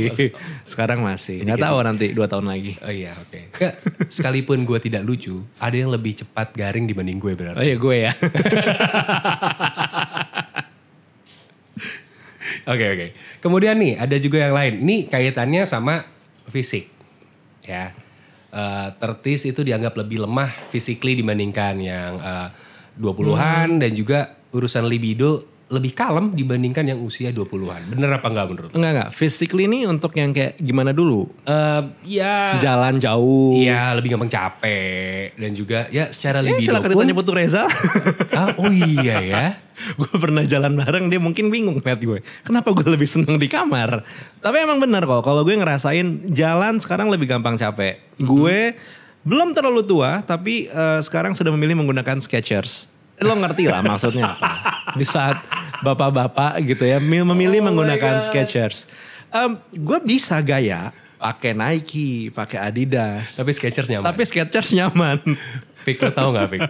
Speaker 3: Sekarang masih. Nggak tahu nanti dua tahun lagi.
Speaker 1: oh iya, oke. Nggak, Sekalipun gue tidak lucu, ada yang lebih cepat garing dibanding gue berarti.
Speaker 3: Oh iya gue ya.
Speaker 1: Oke, oke. Kemudian nih ada juga yang lain. Ini kaitannya sama fisik. Ya. Eh, 30s itu dianggap lebih lemah physically dibandingkan yang eh,
Speaker 3: Hmm.
Speaker 1: 20-an dan juga urusan libido lebih kalem dibandingkan yang usia 20-an. Bener apa enggak menurut lo?
Speaker 3: Enggak enggak. Physically ini untuk yang kayak gimana dulu?
Speaker 1: Eh, ya
Speaker 3: Jalan jauh.
Speaker 1: Iya, lebih gampang capek dan juga ya secara
Speaker 3: Eh,
Speaker 1: libido
Speaker 3: silakan
Speaker 1: pun.
Speaker 3: ditanya Putu [laughs] Reza.
Speaker 1: [laughs] Ah, oh iya ya.
Speaker 3: gue pernah jalan bareng dia mungkin bingung ngeliat gue. Kenapa gue lebih seneng di kamar? Tapi emang benar kok. Kalau gue ngerasain jalan sekarang lebih gampang capek. Gue belum terlalu tua tapi eh, sekarang sudah memilih menggunakan Skechers. Lo ngerti lah maksudnya [laughs] apa. Di saat bapak-bapak gitu ya mil- memilih menggunakan Skechers. Em, gue bisa gaya pakai Nike, pakai Adidas.
Speaker 1: Tapi Skechers nyaman.
Speaker 3: Tapi Skechers nyaman.
Speaker 1: Fik, lo tau gak Fik?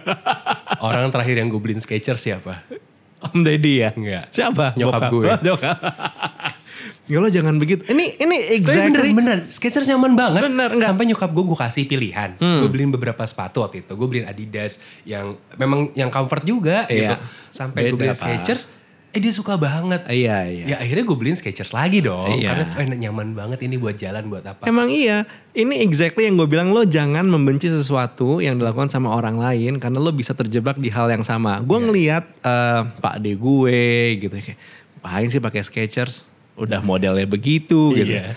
Speaker 1: Orang terakhir yang gue beliin Skechers siapa?
Speaker 3: [laughs] Om Deddy ya?
Speaker 1: Enggak.
Speaker 3: Siapa?
Speaker 1: Nyokap
Speaker 3: Bokap.
Speaker 1: gue.
Speaker 3: Oh, nyokap. ya lo jangan begitu. Ini ini
Speaker 1: Tapi
Speaker 3: exactly.
Speaker 1: bener-bener, Skechers nyaman banget.
Speaker 3: Bener, Hmm. enggak.
Speaker 1: Sampai nyokap gue, gue kasih pilihan. Gue beliin beberapa sepatu waktu itu. Gue beliin Adidas yang memang yang comfort juga gitu.
Speaker 3: Iya.
Speaker 1: Sampai gue
Speaker 3: Beda,
Speaker 1: beliin
Speaker 3: Pak.
Speaker 1: Skechers, eh dia suka banget.
Speaker 3: Iya iya.
Speaker 1: Ya akhirnya gue beliin Skechers lagi dong. Karena
Speaker 3: Iya.
Speaker 1: eh, nyaman banget ini buat jalan, buat apa.
Speaker 3: Emang iya. Ini exactly yang gue bilang lo jangan membenci sesuatu yang dilakukan sama orang lain karena lo bisa terjebak di hal yang sama.
Speaker 1: Iya.
Speaker 3: Gue ngelihat eh, Pak De gue gitu kayak, paling sih pakai Skechers? Udah modelnya begitu gitu.
Speaker 1: Iya.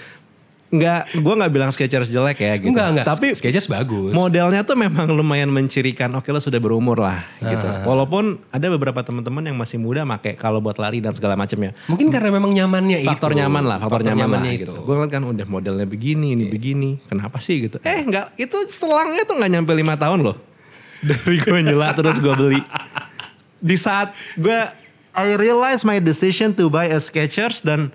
Speaker 3: Enggak, gue nggak bilang Skechers jelek ya gitu.
Speaker 1: Enggak, enggak.
Speaker 3: Tapi
Speaker 1: Skechers bagus.
Speaker 3: Modelnya tuh memang lumayan mencirikan. Oke lo sudah berumur lah gitu.
Speaker 1: Ah.
Speaker 3: Walaupun ada beberapa teman-teman yang masih muda make kalau buat lari dan segala macamnya.
Speaker 1: Mungkin karena memang nyamannya
Speaker 3: Faktor
Speaker 1: itu.
Speaker 3: nyaman lah, faktor, nyaman lah
Speaker 1: nyamannya
Speaker 3: gitu. Gue ngeliat kan udah modelnya begini,
Speaker 1: Iya.
Speaker 3: ini begini. Kenapa sih gitu? Eh nggak, itu selangnya tuh nggak nyampe lima tahun loh. [laughs] Dari gue nyela terus gue beli. Di saat gue I realize my decision to buy a Skechers dan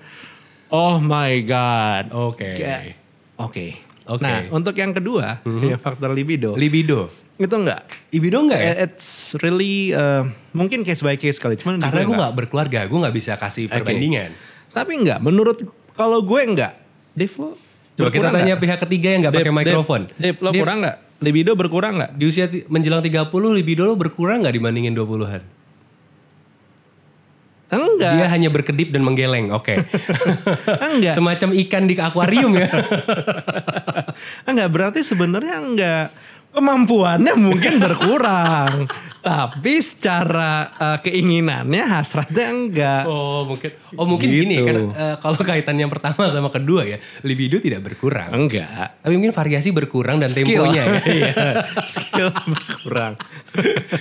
Speaker 3: oh my god.
Speaker 1: Oke.
Speaker 3: Kayak, Oke.
Speaker 1: Oke. Mm-hmm.
Speaker 3: Nah, untuk yang kedua, yang faktor libido.
Speaker 1: Libido.
Speaker 3: Itu enggak.
Speaker 1: Libido enggak
Speaker 3: Eh,
Speaker 1: ya?
Speaker 3: Gitu It's really uh, mungkin case by case kali. Cuman
Speaker 1: Karena gue
Speaker 3: enggak.
Speaker 1: gak berkeluarga, gue gak bisa kasih perbandingan.
Speaker 3: Tapi enggak. Menurut kalau gue enggak. Dev lo
Speaker 1: Coba kita tanya pihak ketiga yang gak pakai mikrofon.
Speaker 3: Dev, lo kurang enggak? Libido berkurang enggak?
Speaker 1: Di usia ti- menjelang 30, libido lo berkurang gak dibandingin 20-an? [laughs]
Speaker 3: Enggak.
Speaker 1: Dia hanya berkedip dan menggeleng,
Speaker 3: [laughs]
Speaker 1: oke.
Speaker 3: Enggak.
Speaker 1: Semacam ikan di akuarium ya.
Speaker 3: [laughs] Enggak berarti sebenarnya enggak kemampuannya mungkin
Speaker 1: [laughs]
Speaker 3: berkurang. Tapi secara uh, keinginannya hasratnya enggak.
Speaker 1: Oh mungkin, oh mungkin
Speaker 3: Gitu.
Speaker 1: gini kan eh, kalau kaitan yang pertama sama kedua ya, libido tidak berkurang.
Speaker 3: Enggak.
Speaker 1: Tapi mungkin variasi berkurang dan
Speaker 3: Skill.
Speaker 1: temponya ya.
Speaker 3: [laughs]
Speaker 1: [laughs]
Speaker 3: Iya. Skill berkurang.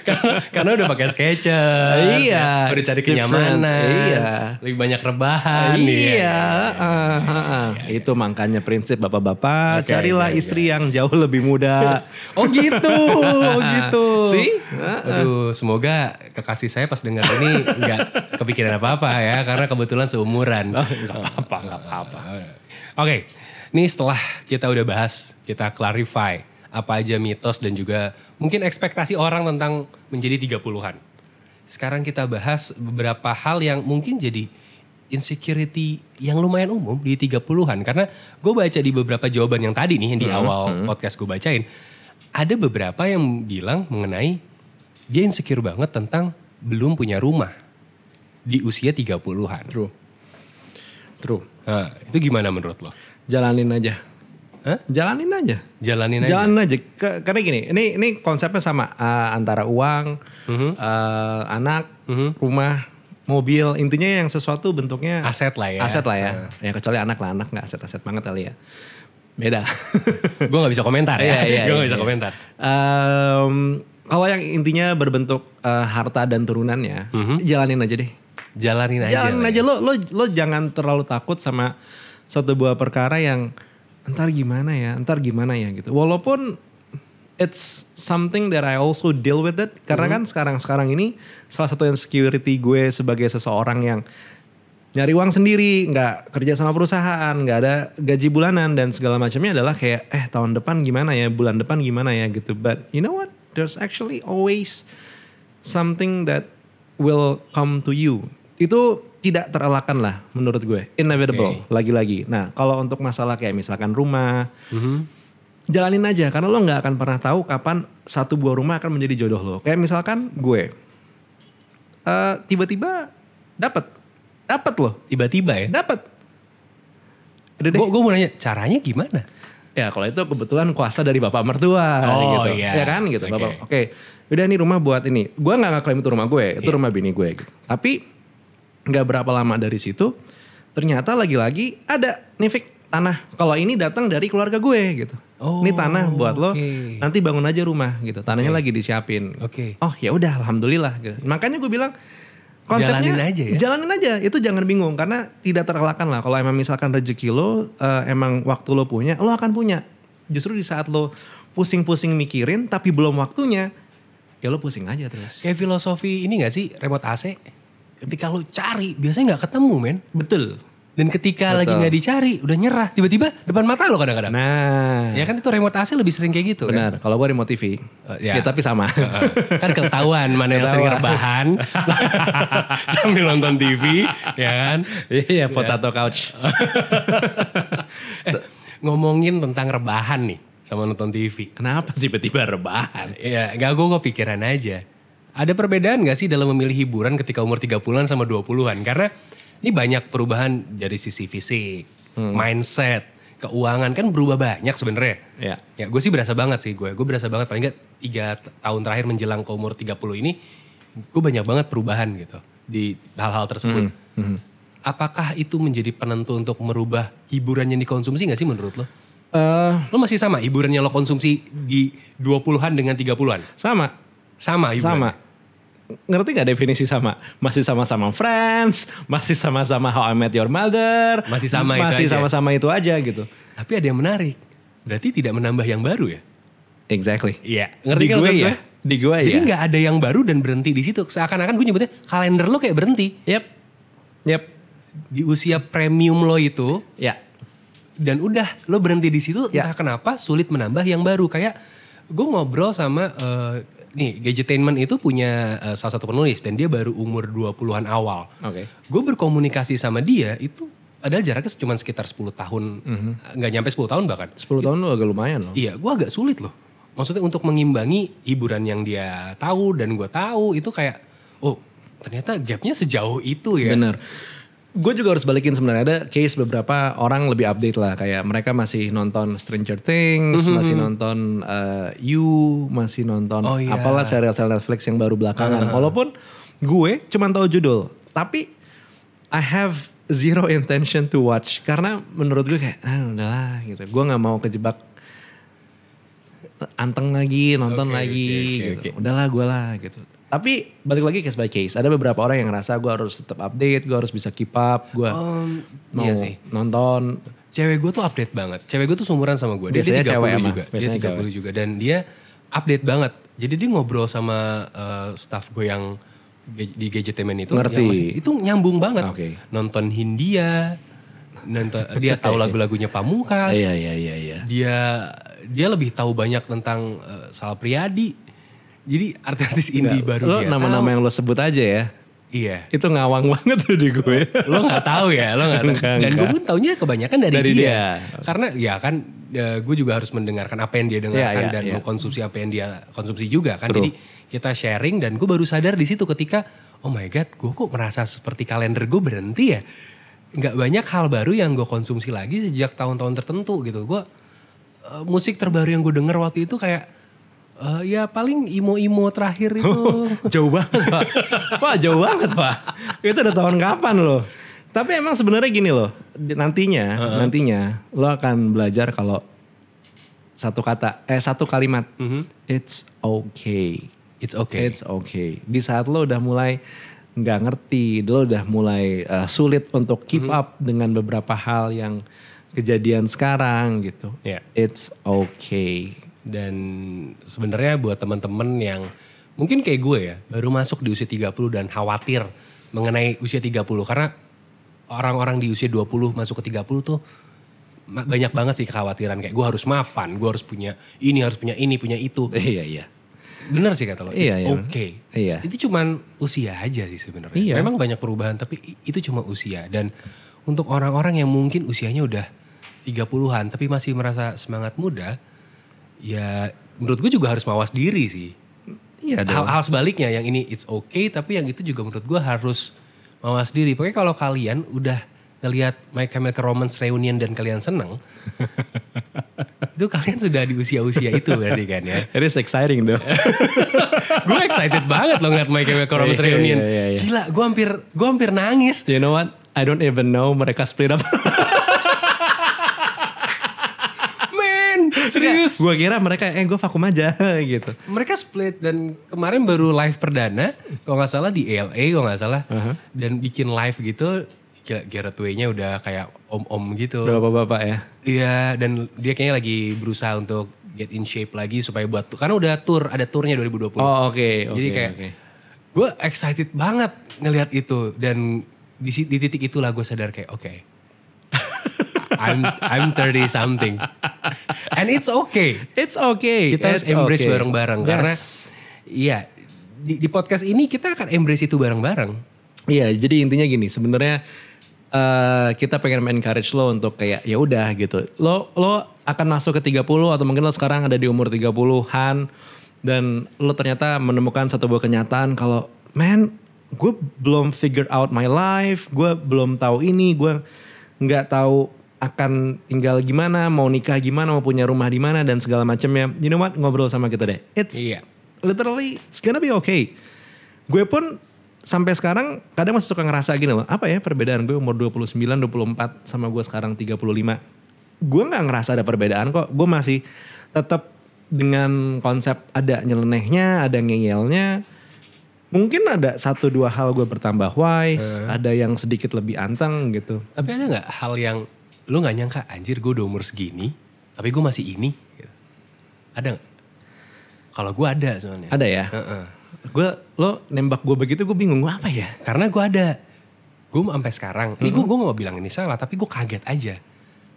Speaker 1: karena, karena udah pakai sketcher,
Speaker 3: Iya,
Speaker 1: udah
Speaker 3: it's
Speaker 1: cari
Speaker 3: different.
Speaker 1: kenyamanan,
Speaker 3: Iya.
Speaker 1: lebih banyak rebahan, ya.
Speaker 3: Iya, ah, ah, ah. itu makanya prinsip bapak-bapak
Speaker 1: Oke,
Speaker 3: carilah
Speaker 1: iya,
Speaker 3: istri yang jauh lebih muda.
Speaker 1: [laughs] Oh gitu, oh gitu.
Speaker 3: See?
Speaker 1: Aduh, semoga kekasih saya pas dengar ini nggak kepikiran apa-apa ya, karena kebetulan seumuran.
Speaker 3: Oh,
Speaker 1: Nggak apa-apa, nggak apa-apa. Oke, ini setelah kita udah bahas, kita clarify apa aja mitos dan juga mungkin ekspektasi orang tentang menjadi 30-an. Sekarang kita bahas beberapa hal yang mungkin jadi insecurity yang lumayan umum di 30-an. Karena gue baca di beberapa jawaban yang tadi nih, yang
Speaker 3: Hmm,
Speaker 1: di awal podcast gue bacain ada beberapa yang bilang mengenai dia insecure banget tentang belum punya rumah di usia 30-an.
Speaker 3: True. True.
Speaker 1: Nah, itu gimana menurut lo?
Speaker 3: Jalanin aja.
Speaker 1: Hah?
Speaker 3: Jalanin aja.
Speaker 1: Jalanin aja.
Speaker 3: Jalanin aja.
Speaker 1: Mm-hmm.
Speaker 3: Ke- Karena gini, ini ini konsepnya sama ah, antara uang, eh, anak rumah, mobil, intinya yang sesuatu bentuknya
Speaker 1: Aset lah ya.
Speaker 3: Aset lah ya. Ya kecuali anak lah, anak nggak aset-aset banget kali ya. Beda.
Speaker 1: gue
Speaker 3: [laughs]
Speaker 1: nggak bisa komentar ya.
Speaker 3: Iya, iya,
Speaker 1: gue
Speaker 3: iya,
Speaker 1: nggak bisa
Speaker 3: iya.
Speaker 1: komentar.
Speaker 3: Em, kalau yang intinya berbentuk eh, harta dan turunannya,
Speaker 1: Mhm.
Speaker 3: jalanin aja deh.
Speaker 1: Jalanin aja.
Speaker 3: Jalanin
Speaker 1: lah ya.
Speaker 3: aja lo, lo lo jangan terlalu takut sama suatu buah perkara yang entar gimana ya, entar gimana ya gitu. Walaupun it's something that I also deal with it karena
Speaker 1: Hmm.
Speaker 3: kan sekarang-sekarang ini salah satu yang security gue sebagai seseorang yang nyari uang sendiri, nggak kerja sama perusahaan, nggak ada gaji bulanan dan segala macamnya adalah kayak eh tahun depan gimana ya, bulan depan gimana ya gitu. But you know what? There's actually always something that will come to you. Itu tidak terelakkan lah menurut gue. Inevitable lagi-lagi. Nah kalau untuk masalah kayak misalkan rumah,
Speaker 1: Mhm.
Speaker 3: jalanin aja karena lo nggak akan pernah tahu kapan satu buah rumah akan menjadi jodoh lo. Kayak misalkan gue eh, tiba-tiba dapat dapat loh
Speaker 1: Tiba-tiba ya.
Speaker 3: dapat Udah deh.
Speaker 1: Gue gue mau nanya caranya gimana?
Speaker 3: ya kalau itu kebetulan kuasa dari bapak mertua
Speaker 1: Oh,
Speaker 3: gitu
Speaker 1: iya.
Speaker 3: ya kan gitu
Speaker 1: Oke.
Speaker 3: bapak oke udah ini rumah buat ini gue nggak ngeklaim itu rumah gue
Speaker 1: Iya.
Speaker 3: itu rumah bini gue gitu tapi nggak berapa lama dari situ ternyata lagi-lagi ada nih Vic, tanah kalau ini datang dari keluarga gue gitu
Speaker 1: Oh,
Speaker 3: ini tanah buat lo
Speaker 1: oke.
Speaker 3: nanti bangun aja rumah gitu tanahnya lagi disiapin
Speaker 1: Oke.
Speaker 3: oh ya udah alhamdulillah gitu. makanya gue bilang konsepnya
Speaker 1: Jalanin aja ya.
Speaker 3: jalanin aja itu jangan bingung karena tidak terelakkan lah kalau emang misalkan rezeki lo eh, emang waktu lo punya lo akan punya justru di saat lo pusing-pusing mikirin tapi belum waktunya ya lo pusing aja terus
Speaker 1: Kayak filosofi ini gak sih remote AC? Ketika lo cari biasanya nggak ketemu men.
Speaker 3: betul
Speaker 1: Dan ketika lagi nggak dicari udah nyerah tiba-tiba depan mata lo kadang-kadang.
Speaker 3: nah
Speaker 1: Ya kan itu remote AC lebih sering kayak gitu kan.
Speaker 3: benar kalau gue remote TV
Speaker 1: Eh, ya.
Speaker 3: ya tapi sama
Speaker 1: Heeh. [laughs] kan ketahuan mana yang sering
Speaker 3: [laughs]
Speaker 1: rebahan sambil nonton TV ya kan
Speaker 3: iya [laughs] potato couch
Speaker 1: Eh, ngomongin tentang rebahan nih sama nonton TV
Speaker 3: kenapa tiba-tiba rebahan
Speaker 1: ya gak gue kepikiran aja ada perbedaan gak sih dalam memilih hiburan ketika umur 30-an sama 20-an karena ini banyak perubahan dari sisi fisik mindset keuangan kan berubah banyak sebenarnya
Speaker 3: Iya.
Speaker 1: ya gue sih berasa banget sih gue gue berasa banget paling gak tiga t- tahun terakhir menjelang ke umur 30 ini gue banyak banget perubahan gitu di hal-hal tersebut apakah itu menjadi penentu untuk merubah hiburan yang dikonsumsi gak sih menurut lo?
Speaker 3: Eh,
Speaker 1: Lo masih sama hiburan yang lo konsumsi di 20-an dengan 30-an?
Speaker 3: sama
Speaker 1: Sama hiburan?
Speaker 3: sama ngerti nggak definisi sama masih sama-sama friends masih sama-sama how I met your mother
Speaker 1: Masih sama itu
Speaker 3: masih
Speaker 1: aja.
Speaker 3: sama-sama itu aja gitu
Speaker 1: Tapi ada yang menarik. Berarti tidak menambah yang baru ya?
Speaker 3: exactly
Speaker 1: Iya. Ngerti
Speaker 3: di
Speaker 1: kan
Speaker 3: gue
Speaker 1: maksud
Speaker 3: ya
Speaker 1: gue? iya.
Speaker 3: di gue
Speaker 1: Jadi
Speaker 3: ya
Speaker 1: nggak ada yang baru dan berhenti di situ. Seakan-akan gue nyebutnya kalender lo kayak berhenti.
Speaker 3: yep yep
Speaker 1: Di usia premium lo itu.
Speaker 3: ya
Speaker 1: Dan udah lo berhenti di situ.
Speaker 3: Ya.
Speaker 1: Entah kenapa sulit menambah yang baru. Kayak gue ngobrol sama... eh, nih Gadgetainment itu punya eh, salah satu penulis. Dan dia baru umur 20-an awal.
Speaker 3: Oke.
Speaker 1: Gue berkomunikasi sama dia itu... Padahal jaraknya cuma sekitar 10 tahun. Nggak nyampe 10 tahun bahkan.
Speaker 3: 10 tahun lu agak lumayan loh
Speaker 1: Iya, gue agak sulit loh. Maksudnya untuk mengimbangi hiburan yang dia tahu dan gue tahu itu kayak, oh ternyata gapnya sejauh itu ya.
Speaker 3: Bener. Gue juga harus balikin sebenarnya ada case beberapa orang lebih update lah kayak mereka masih nonton Stranger Things,
Speaker 1: Mhm,
Speaker 3: masih nonton eh, You, masih nonton
Speaker 1: Oh, iya.
Speaker 3: apalah serial-serial Netflix yang baru belakangan. Walaupun gue cuman tahu judul, tapi I have zero intention to watch karena menurut gue kayak ah udahlah gitu. Gue nggak mau kejebak anteng lagi, nonton
Speaker 1: Oke,
Speaker 3: lagi
Speaker 1: oke, oke,
Speaker 3: gitu. Udahlah gue lah gitu. Tapi balik lagi case by case. Ada beberapa orang yang ngerasa gue harus tetap update, gue harus bisa keep up, gue
Speaker 1: Um,
Speaker 3: mau
Speaker 1: iya sih.
Speaker 3: nonton.
Speaker 1: Cewek gue tuh update banget. Cewek gue tuh seumuran sama gue. Dia,
Speaker 3: Biasanya
Speaker 1: dia 30
Speaker 3: cewek emang.
Speaker 1: juga. Dia
Speaker 3: Biasanya
Speaker 1: 30 juga dan dia update banget. Jadi dia ngobrol sama eh, staff gue yang ge- di Gadgetemen itu.
Speaker 3: Ngerti.
Speaker 1: yang masih- itu nyambung banget.
Speaker 3: Oke.
Speaker 1: Nonton Hindia, nonton
Speaker 3: [laughs]
Speaker 1: dia tahu lagu-lagunya Pamungkas.
Speaker 3: iya iya iya.
Speaker 1: dia dia lebih tahu banyak tentang eh, Sal Priadi. Jadi artis-artis indie baru
Speaker 3: Lo
Speaker 1: dia.
Speaker 3: nama-nama yang lo sebut aja ya.
Speaker 1: Iya.
Speaker 3: Itu ngawang [laughs] banget tuh di gue.
Speaker 1: Lo nggak tahu ya, lo nggak tahu.
Speaker 3: Enggak,
Speaker 1: Dan gue
Speaker 3: enggak.
Speaker 1: pun taunya kebanyakan dari,
Speaker 3: Dari
Speaker 1: dia.
Speaker 3: dia.
Speaker 1: Karena ya kan eh, gue juga harus mendengarkan apa yang dia dengarkan
Speaker 3: Iya, iya,
Speaker 1: dan
Speaker 3: iya.
Speaker 1: mengkonsumsi apa yang dia konsumsi juga kan. Jadi kita sharing dan gue baru sadar di situ ketika oh my god, gue kok merasa seperti kalender gue berhenti ya. Nggak banyak hal baru yang gue konsumsi lagi sejak tahun-tahun tertentu gitu. Gue eh, musik terbaru yang gue denger waktu itu kayak Eh, ya paling imo-imo terakhir itu
Speaker 3: [laughs] jauh banget pak pak jauh banget pak itu udah tahun kapan loh tapi emang sebenarnya gini loh di- nantinya nantinya lo akan belajar kalau satu kata eh satu kalimat it's okay
Speaker 1: it's okay.
Speaker 3: it's okay di saat lo udah mulai nggak ngerti lo udah mulai eh, sulit untuk keep up dengan beberapa hal yang kejadian sekarang gitu
Speaker 1: Ya.
Speaker 3: it's okay
Speaker 1: Dan sebenarnya buat teman-teman yang mungkin kayak gue ya, baru masuk di usia 30 dan khawatir mengenai usia 30 karena orang-orang di usia 20 masuk ke 30 tuh ma- banyak banget sih kekhawatiran kayak gue harus mapan, gue harus punya ini, harus punya ini, punya itu.
Speaker 3: iya iya
Speaker 1: Bener Ya. sih kata lo, it's
Speaker 3: Iya, iya.
Speaker 1: okay.
Speaker 3: Iya.
Speaker 1: Itu cuman usia aja sih sebenarnya.
Speaker 3: Iya.
Speaker 1: Memang banyak perubahan tapi i- itu cuma usia. Dan untuk orang-orang yang mungkin usianya udah 30-an tapi masih merasa semangat muda, ya menurut gue juga harus mawas diri sih.
Speaker 3: iya dong.
Speaker 1: Hal, hal sebaliknya yang ini it's okay tapi yang itu juga menurut gue harus mawas diri. Pokoknya kalau kalian udah ngelihat My Chemical Romance reunion dan kalian
Speaker 3: [laughs]
Speaker 1: seneng, itu kalian sudah di usia-usia itu berarti kan ya
Speaker 3: it is exciting [laughs] though
Speaker 1: gue excited banget loh ngeliat My Chemical Romance
Speaker 3: Iya, iya,
Speaker 1: reunion.
Speaker 3: iya, iya.
Speaker 1: Gila, gue hampir gue hampir nangis.
Speaker 3: You know what? I don't even know mereka split [laughs] up.
Speaker 1: Men, serius.
Speaker 3: gue kira mereka, eh gue vakum aja [laughs] gitu.
Speaker 1: Mereka split dan kemarin baru live perdana, kalau nggak salah di LA, kalau nggak salah, dan bikin live gitu. Gila, Gareth Way-nya udah kayak om-om gitu.
Speaker 3: Udah bapak-bapak ya.
Speaker 1: Iya, dan dia kayaknya lagi berusaha untuk get in shape lagi supaya buat karena udah tour, ada tournya 2020.
Speaker 3: Oh oke. oke,
Speaker 1: Jadi kayak
Speaker 3: oke.
Speaker 1: gue excited banget ngelihat itu dan di, si- di titik itulah gue sadar kayak oke. [laughs] I'm I'm 30 something. And it's okay.
Speaker 3: it's okay.
Speaker 1: Kita harus
Speaker 3: it's
Speaker 1: embrace
Speaker 3: okay.
Speaker 1: bareng-bareng
Speaker 3: Yes.
Speaker 1: karena iya di, di podcast ini kita akan embrace itu bareng-bareng.
Speaker 3: Iya, jadi intinya gini, sebenarnya eh, kita pengen encourage lo untuk kayak ya udah gitu. Lo lo akan masuk ke 30 atau mungkin lo sekarang ada di umur 30-an dan lo ternyata menemukan satu buah kenyataan kalau man, gue belum figure out my life, gue belum tahu ini, gue nggak tahu akan tinggal gimana, mau nikah gimana, mau punya rumah di mana dan segala macamnya. You know what? Ngobrol sama kita deh. It's
Speaker 1: Iya.
Speaker 3: literally it's gonna be okay. Gue pun sampai sekarang kadang masih suka ngerasa gini loh, apa ya perbedaan gue umur 29, 24 sama gue sekarang 35. Gue nggak ngerasa ada perbedaan kok. Gue masih tetap dengan konsep ada nyelenehnya, ada ngeyelnya. Mungkin ada satu dua hal gue bertambah wise, ada yang sedikit lebih anteng gitu.
Speaker 1: Tapi ada nggak hal yang lu nggak nyangka anjir gue udah umur segini tapi gue masih ini? gitu. Ada nggak? Kalau gue ada soalnya.
Speaker 3: Ada ya.
Speaker 1: Heeh.
Speaker 3: Gue lo nembak gue begitu gue bingung gue apa ya?
Speaker 1: Karena gue ada, gue sampai sekarang, ini gue gue mau bilang ini salah, tapi gue kaget aja.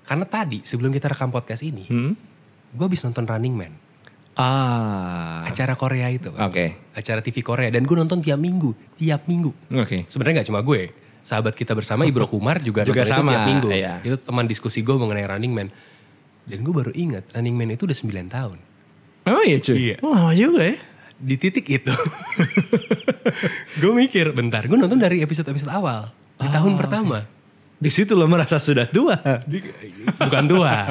Speaker 1: Karena tadi sebelum kita rekam podcast ini,
Speaker 3: Mm. Hmm?
Speaker 1: gue habis nonton Running Man,
Speaker 3: Ah.
Speaker 1: acara Korea itu, kan.
Speaker 3: Oke.
Speaker 1: acara TV Korea, dan gue nonton tiap minggu, tiap minggu.
Speaker 3: Oke.
Speaker 1: Sebenarnya nggak cuma gue, sahabat kita bersama
Speaker 3: [laughs]
Speaker 1: Ibro Kumar juga,
Speaker 3: Juga
Speaker 1: nonton itu
Speaker 3: sama,
Speaker 1: tiap minggu.
Speaker 3: iya.
Speaker 1: Itu teman diskusi gue mengenai Running Man. Dan gue baru ingat Running Man itu udah 9 tahun.
Speaker 3: Oh iya cuy.
Speaker 1: Iya.
Speaker 3: Oh, lama juga ya.
Speaker 1: Di titik itu, [laughs] gue mikir bentar, gue nonton dari episode-episode awal di tahun pertama.
Speaker 3: Ah, Di situ lo merasa sudah tua.
Speaker 1: Di- bukan tua.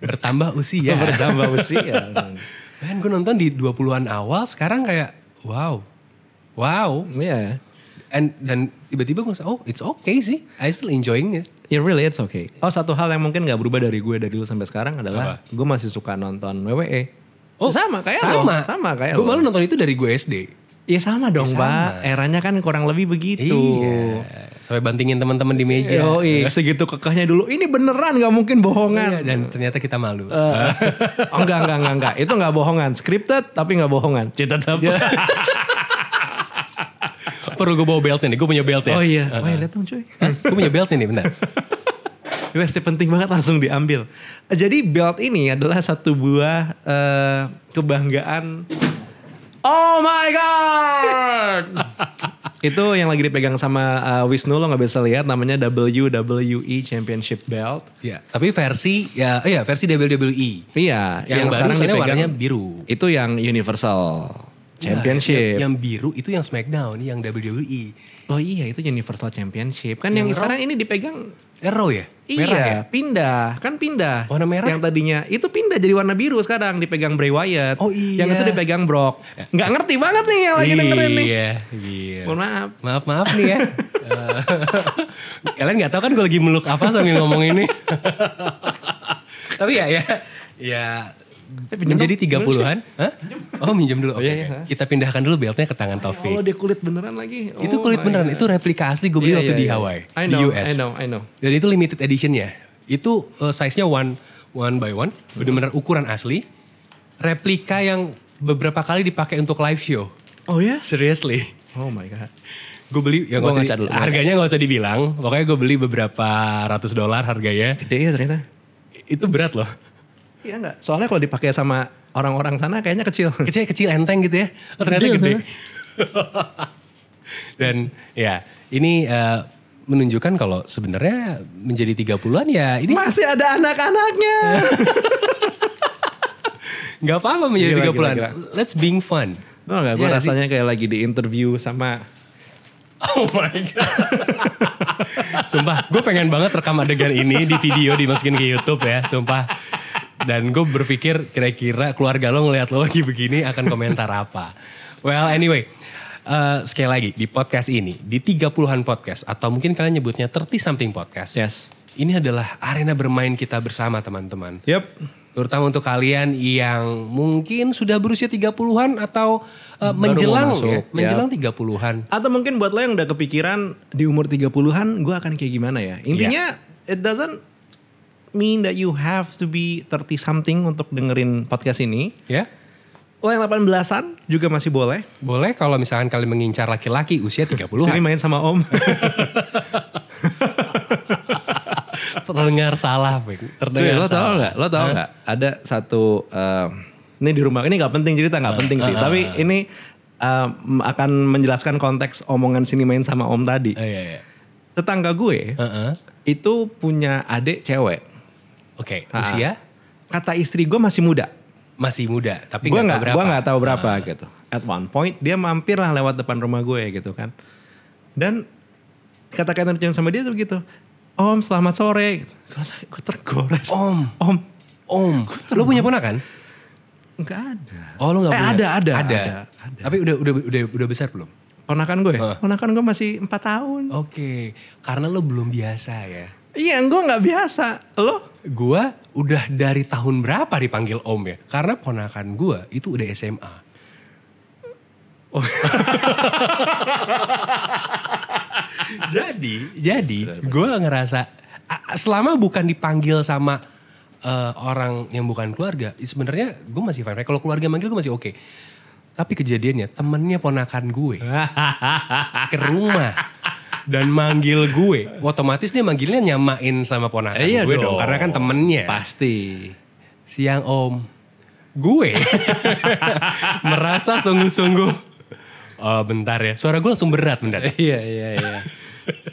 Speaker 1: bertambah usia.
Speaker 3: Oh, Bertambah
Speaker 1: [laughs]
Speaker 3: usia.
Speaker 1: Man, gue nonton di 20-an awal, sekarang kayak wow. Wow.
Speaker 3: Iya.
Speaker 1: And dan tiba-tiba gue ngerasa, oh it's okay sih. I still enjoying it.
Speaker 3: It Ya, really it's okay. Oh satu hal yang mungkin gak berubah dari gue dari dulu sampai sekarang adalah gue masih suka nonton WWE.
Speaker 1: Oh,
Speaker 3: sama kayak lo.
Speaker 1: sama.
Speaker 3: Sama
Speaker 1: Gue
Speaker 3: kayak lo.
Speaker 1: malah nonton itu dari gue SD.
Speaker 3: Iya sama dong
Speaker 1: Iya,
Speaker 3: pak.
Speaker 1: sama.
Speaker 3: Eranya kan kurang lebih begitu.
Speaker 1: Iya. Sampai bantingin teman-teman
Speaker 3: Iya.
Speaker 1: di meja.
Speaker 3: Yoi, segitu kekahnya dulu. Ini beneran gak mungkin
Speaker 1: Iya,
Speaker 3: bohongan.
Speaker 1: dan ternyata kita malu.
Speaker 3: [laughs] Oh, enggak, enggak, enggak, enggak. Itu enggak bohongan. Scripted tapi enggak bohongan. Cinta tetap.
Speaker 1: [laughs] Perlu gue bawa beltnya nih, gue punya beltnya.
Speaker 3: Oh iya. Oh iya, lihat dong cuy.
Speaker 1: gue punya beltnya nih, bentar.
Speaker 3: Ini pasti penting banget langsung diambil. Jadi belt ini adalah satu buah eh, kebanggaan. Oh my
Speaker 1: [laughs]
Speaker 3: god! Itu yang lagi dipegang sama eh, Wisnu lo nggak bisa lihat namanya WWE Championship Belt.
Speaker 1: Iya, tapi versi ya, iya versi WWE.
Speaker 3: Iya,
Speaker 1: Yang, baru
Speaker 3: sekarang
Speaker 1: soalnya
Speaker 3: dipegang-
Speaker 1: warnanya biru. Iya,
Speaker 3: Itu yang Universal Championship.
Speaker 1: Yang, yang biru itu yang SmackDown, yang E. WWE.
Speaker 3: Oh iya itu Universal Championship kan yang, sekarang ini dipegang
Speaker 1: Arrow ya? Merah ya?
Speaker 3: Iya, pindah. Kan pindah.
Speaker 1: Warna merah?
Speaker 3: Yang tadinya itu pindah jadi warna biru sekarang dipegang Bray Wyatt.
Speaker 1: Oh, iya.
Speaker 3: Yang itu dipegang Brock. Nggak ngerti banget nih yang lagi dengerin nih.
Speaker 1: Iya, iya.
Speaker 3: Mohon maaf.
Speaker 1: Maaf maaf nih ya. Eh, [laughs] Kalian nggak tahu kan gue lagi meluk apa sambil ngomong ini. [laughs] Tapi ya ya ya
Speaker 3: Eh,
Speaker 1: menjadi 30-an. Hah? Oh, minjem dulu. Oke.
Speaker 3: iya,
Speaker 1: oke.
Speaker 3: iya.
Speaker 1: Kita pindahkan dulu beltnya ke tangan Taufik.
Speaker 3: Oh, dia kulit beneran lagi.
Speaker 1: itu
Speaker 3: Oh
Speaker 1: kulit
Speaker 3: my
Speaker 1: beneran,
Speaker 3: God.
Speaker 1: itu replika asli gue beli
Speaker 3: Iya,
Speaker 1: waktu
Speaker 3: iya,
Speaker 1: di
Speaker 3: iya.
Speaker 1: Hawaii,
Speaker 3: I
Speaker 1: di
Speaker 3: know,
Speaker 1: US.
Speaker 3: I know, I know.
Speaker 1: Dan itu limited edition ya. Itu eh, size-nya one one by one, bener-bener ukuran asli. Replika yang beberapa kali dipakai untuk live show.
Speaker 3: Oh
Speaker 1: iya?
Speaker 3: ya?
Speaker 1: Seriously.
Speaker 3: Oh my god.
Speaker 1: Gue beli, ya
Speaker 3: Gua
Speaker 1: nggak usah
Speaker 3: ngaca
Speaker 1: di-
Speaker 3: dulu, gua
Speaker 1: harganya nggak usah dibilang. Pokoknya gue beli beberapa ratus dolar harganya.
Speaker 3: Gede ya ternyata.
Speaker 1: Itu berat loh.
Speaker 3: Iya enggak? Soalnya kalau dipakai sama orang-orang sana kayaknya kecil.
Speaker 1: Kecil kecil enteng gitu ya. Oh, ternyata
Speaker 3: Gede,
Speaker 1: gede. [laughs] Dan ya ini eh, menunjukkan kalau sebenarnya menjadi 30-an ya ini
Speaker 3: [laughs] Masih ada
Speaker 1: [laughs]
Speaker 3: anak-anaknya.
Speaker 1: nggak apa-apa menjadi
Speaker 3: Gila,
Speaker 1: 30-an.
Speaker 3: gila,
Speaker 1: Let's being fun.
Speaker 3: Oh enggak, gue
Speaker 1: Iya nggak sih?
Speaker 3: rasanya kayak lagi di interview sama
Speaker 1: Oh my god. [laughs] Sumpah, gue pengen banget rekam adegan ini di video dimasukin ke YouTube ya, sumpah. Dan gue berpikir kira-kira keluarga lo ngelihat lo lagi begini akan komentar apa. Well anyway, eh, sekali lagi di podcast ini, di 30-an podcast atau mungkin kalian nyebutnya 30 something podcast.
Speaker 3: Yes.
Speaker 1: Ini adalah arena bermain kita bersama teman-teman.
Speaker 3: Yep.
Speaker 1: Terutama untuk kalian yang mungkin sudah berusia 30-an atau eh,
Speaker 3: mau
Speaker 1: menjelang
Speaker 3: masuk,
Speaker 1: ya,
Speaker 3: ya.
Speaker 1: menjelang 30-an.
Speaker 3: Atau mungkin buat lo yang udah kepikiran di umur 30-an gue akan kayak gimana ya. Intinya it doesn't mean that you have to be 30 something untuk dengerin podcast ini.
Speaker 1: Ya.
Speaker 3: Lo yang 18-an juga masih boleh.
Speaker 1: Boleh kalau misalkan kalian mengincar laki-laki usia
Speaker 3: Sini
Speaker 1: 30-an.
Speaker 3: main sama [laughs] om.
Speaker 1: Terdengar salah, Fik.
Speaker 3: Cuy,
Speaker 1: Terdengar
Speaker 3: lo
Speaker 1: salah.
Speaker 3: tau gak? Lo tau gak? Ada satu eh, ini di rumah ini nggak penting cerita nggak penting sih. Tapi ini eh, m- akan menjelaskan konteks omongan sini main sama Om tadi.
Speaker 1: Eh, iya, iya.
Speaker 3: Tetangga gue
Speaker 1: Heeh.
Speaker 3: itu punya adik cewek.
Speaker 1: Oke, usia
Speaker 3: Kata istri gue masih muda.
Speaker 1: masih muda, tapi
Speaker 3: Gue
Speaker 1: nggak tahu
Speaker 3: nggak
Speaker 1: berapa.
Speaker 3: gue nggak tahu berapa gitu. At one point dia mampir lah lewat depan rumah gue gitu kan. Dan kata-kata yang sama dia tuh begitu. Om selamat sore. Gue tergores.
Speaker 1: Om,
Speaker 3: Om
Speaker 1: om. Lo punya ponakan?
Speaker 3: nggak ada.
Speaker 1: Oh, lo nggak
Speaker 3: Eh,
Speaker 1: punya.
Speaker 3: ada, ada,
Speaker 1: ada,
Speaker 3: ada,
Speaker 1: Tapi udah udah udah udah besar belum?
Speaker 3: Ponakan gue, ponakan gue masih 4 tahun.
Speaker 1: Oke, karena lo belum biasa ya.
Speaker 3: Iya, gue nggak biasa. Lo?
Speaker 1: Gua udah dari tahun berapa dipanggil om ya? Karena ponakan gua itu udah SMA. jadi, jadi gua ngerasa a- selama bukan dipanggil sama eh, orang yang bukan keluarga, i- sebenarnya gue masih fine. Kalau keluarga manggil gue masih oke. Tapi kejadiannya temennya ponakan gue ke rumah dan manggil gue, otomatis dia manggilnya nyamain sama ponakan
Speaker 3: Iya
Speaker 1: gue dong,
Speaker 3: dong.
Speaker 1: karena kan temennya.
Speaker 3: Pasti.
Speaker 1: Siang om, gue [laughs] merasa sungguh-sungguh. Oh bentar ya, suara gue langsung berat mendadak.
Speaker 3: Iya, iya, iya.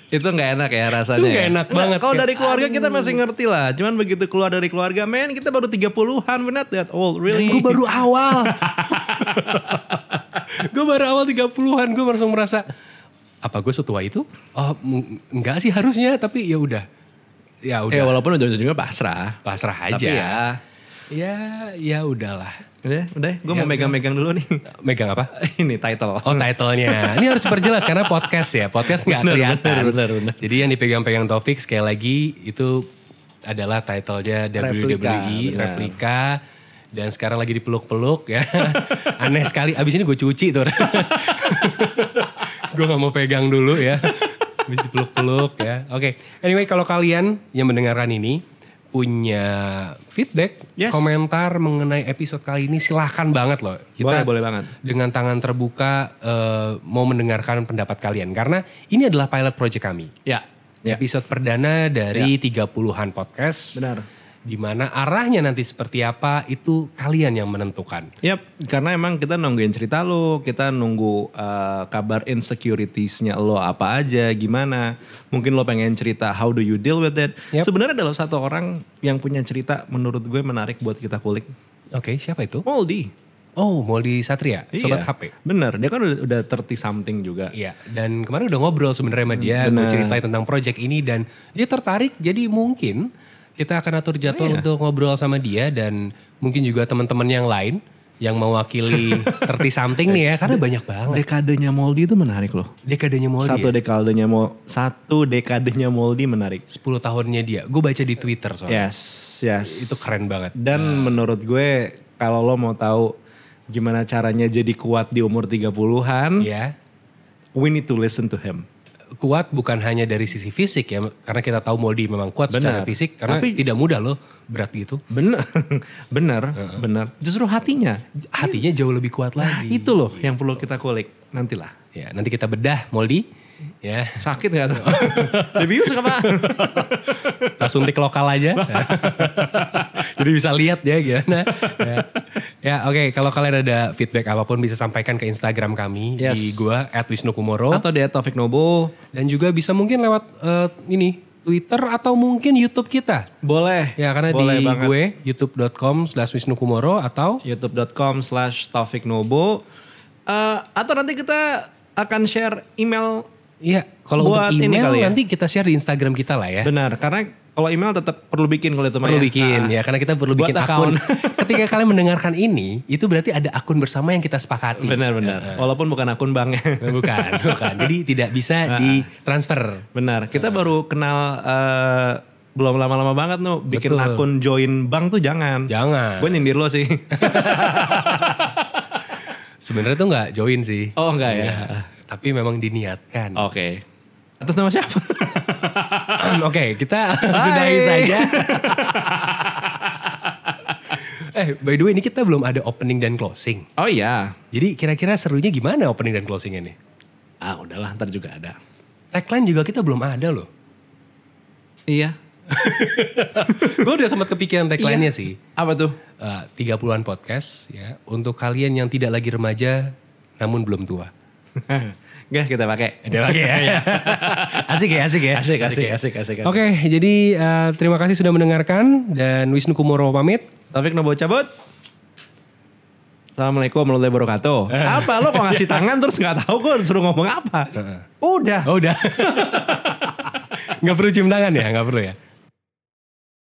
Speaker 3: Itu nggak enak ya rasanya.
Speaker 1: Itu nggak
Speaker 3: ya?
Speaker 1: enak banget,
Speaker 3: Kalau
Speaker 1: kayak,
Speaker 3: dari keluarga kita masih ngerti lah. Cuman begitu keluar dari keluarga, men kita baru 30-an. We're not that old, really.
Speaker 1: gue baru [laughs] awal. gue baru awal 30-an, gue langsung merasa apa gue setua itu? Oh, m- enggak sih harusnya, tapi ya udah. Ya
Speaker 3: Ya
Speaker 1: udah,
Speaker 3: walaupun ujung-ujungnya pasrah.
Speaker 1: pasrah aja.
Speaker 3: Tapi ya.
Speaker 1: ya, ya udahlah.
Speaker 3: Udah, udah. Gue mau megang-megang dulu nih.
Speaker 1: Megang apa?
Speaker 3: Iya, [laughs] Ini title.
Speaker 1: Oh titlenya. Ini harus diperjelas karena podcast ya. Podcast nggak
Speaker 3: Benar,
Speaker 1: kelihatan.
Speaker 3: benar, benar, benar.
Speaker 1: Jadi yang dipegang-pegang Taufik sekali lagi itu adalah titlenya WWE
Speaker 3: Replika, benar.
Speaker 1: replika. Dan sekarang lagi dipeluk-peluk ya. [laughs] Aneh sekali. Abis ini gue cuci [laughs] tuh. gue nggak mau pegang dulu ya. Abis dipeluk-peluk ya. Oke. Anyway kalau kalian yang mendengarkan ini punya feedback,
Speaker 3: Yes.
Speaker 1: komentar mengenai episode kali ini silahkan banget loh.
Speaker 3: Boleh, boleh banget.
Speaker 1: Dengan tangan terbuka eh, mau mendengarkan pendapat kalian karena ini adalah pilot project kami.
Speaker 3: Ya. Ya.
Speaker 1: Episode perdana dari 30-an podcast.
Speaker 3: Benar.
Speaker 1: Di mana arahnya nanti seperti apa itu kalian yang menentukan.
Speaker 3: Yap, karena emang kita nungguin cerita lo, kita nunggu eh, kabar insecuritiesnya lo apa aja, gimana. Mungkin lo pengen cerita how do you deal with it.
Speaker 1: Yap.
Speaker 3: Sebenarnya ada loh satu orang yang punya cerita menurut gue menarik buat kita kulik.
Speaker 1: Oke, siapa itu?
Speaker 3: Moldy.
Speaker 1: Oh, Molly Satria, sobat
Speaker 3: Iya.
Speaker 1: HP.
Speaker 3: Bener, dia kan udah, udah 30 something juga.
Speaker 1: Iya, dan kemarin udah ngobrol sebenarnya sama dia, gue ceritain tentang project ini dan dia tertarik. Jadi mungkin kita akan atur
Speaker 3: Oh, iya.
Speaker 1: jadwal untuk ngobrol sama dia dan mungkin juga teman-teman yang lain yang
Speaker 3: [laughs]
Speaker 1: mewakili 30 something nih ya,
Speaker 3: Iya.
Speaker 1: karena banyak banget.
Speaker 3: Dekadenya Moldi itu menarik loh.
Speaker 1: Dekadenya Molly ya,
Speaker 3: Satu dekadenya Mo, satu dekadenya Moldi menarik.
Speaker 1: 10 tahunnya dia. Gue baca di Twitter soalnya.
Speaker 3: Yes, yes.
Speaker 1: Itu keren banget.
Speaker 3: Dan
Speaker 1: Nah.
Speaker 3: menurut gue kalau lo mau tahu gimana caranya jadi kuat di umur 30-an,
Speaker 1: Ya,
Speaker 3: we need to listen to him.
Speaker 1: kuat bukan hanya dari sisi fisik ya, karena kita tahu Moldy memang kuat secara
Speaker 3: Benar.
Speaker 1: fisik, karena
Speaker 3: Tapi-
Speaker 1: tidak mudah loh berat gitu.
Speaker 3: Bener, [laughs] bener, bener. Justru hatinya.
Speaker 1: Hatinya jauh lebih kuat
Speaker 3: Nah,
Speaker 1: lagi.
Speaker 3: itu loh yang perlu kita kulik nantilah.
Speaker 1: Ya, nanti kita bedah Moldy. Ya,
Speaker 3: Sakit gak tuh? [laughs] Lebih suka pak?
Speaker 1: Kita suntik lokal aja.
Speaker 3: [laughs]
Speaker 1: Jadi bisa lihat ya gimana. ya, Ya, oke kalau kalian ada feedback apapun bisa sampaikan ke Instagram kami
Speaker 3: Yes.
Speaker 1: di gua @wisnukumoro
Speaker 3: Atau dia Taufik Nobo.
Speaker 1: dan juga bisa mungkin lewat eh, ini Twitter atau mungkin YouTube kita.
Speaker 3: Boleh.
Speaker 1: Ya karena
Speaker 3: Boleh
Speaker 1: di
Speaker 3: banget.
Speaker 1: gue youtube.com/wisnukumoro atau
Speaker 3: youtube.com slash Taufik Nobo. Eh, atau nanti kita akan share email.
Speaker 1: Iya, kalau untuk
Speaker 3: Buat ini
Speaker 1: email
Speaker 3: kali ya.
Speaker 1: nanti kita share di Instagram kita lah ya.
Speaker 3: Benar, karena kalau email tetap perlu bikin kalau itu Maya.
Speaker 1: perlu bikin
Speaker 3: Nah,
Speaker 1: ya karena kita perlu
Speaker 3: Buat
Speaker 1: bikin akun. [laughs] Ketika kalian mendengarkan ini, itu berarti ada akun bersama yang kita sepakati.
Speaker 3: Benar, benar. Walaupun bukan akun banknya.
Speaker 1: bukan, bukan. Jadi tidak bisa ditransfer.
Speaker 3: [laughs] benar, kita baru kenal eh, belum lama-lama banget tuh bikin
Speaker 1: Betul.
Speaker 3: akun join bank tuh jangan.
Speaker 1: Jangan.
Speaker 3: Gue nyindir lo sih.
Speaker 1: Sebenarnya tuh nggak join sih.
Speaker 3: [laughs]
Speaker 1: Iya,
Speaker 3: Oh, nggak ya?
Speaker 1: Tapi memang diniatkan.
Speaker 3: Oke. Atas nama siapa?
Speaker 1: [clears throat] Oke, kita [laughs] sudahi saja. eh, by the way ini kita belum ada opening dan closing.
Speaker 3: oh iya.
Speaker 1: Jadi kira-kira serunya gimana opening dan closing ini?
Speaker 3: Ah udahlah, ntar juga ada.
Speaker 1: Tagline juga kita belum ada loh.
Speaker 3: Iya.
Speaker 1: Gue udah sempat kepikiran tagline-nya sih.
Speaker 3: Apa tuh? [laughs]
Speaker 1: Eh, 30-an podcast ya. Untuk kalian yang tidak lagi remaja namun belum tua.
Speaker 3: Gak kita pakai.
Speaker 1: Ada lagi
Speaker 3: [laughs]
Speaker 1: ya. asik ya, asik ya.
Speaker 3: Asik, asik, asik, asik.
Speaker 1: Oke, jadi eh, terima kasih sudah mendengarkan dan Wisnu Kumoro pamit.
Speaker 3: Taufik Nobo cabut. Assalamualaikum warahmatullahi [laughs] wabarakatuh. Apa lo kok ngasih tangan terus nggak tahu kok suruh ngomong apa? Udah.
Speaker 1: [laughs] Oh, udah. Nggak perlu cium tangan ya, nggak perlu ya.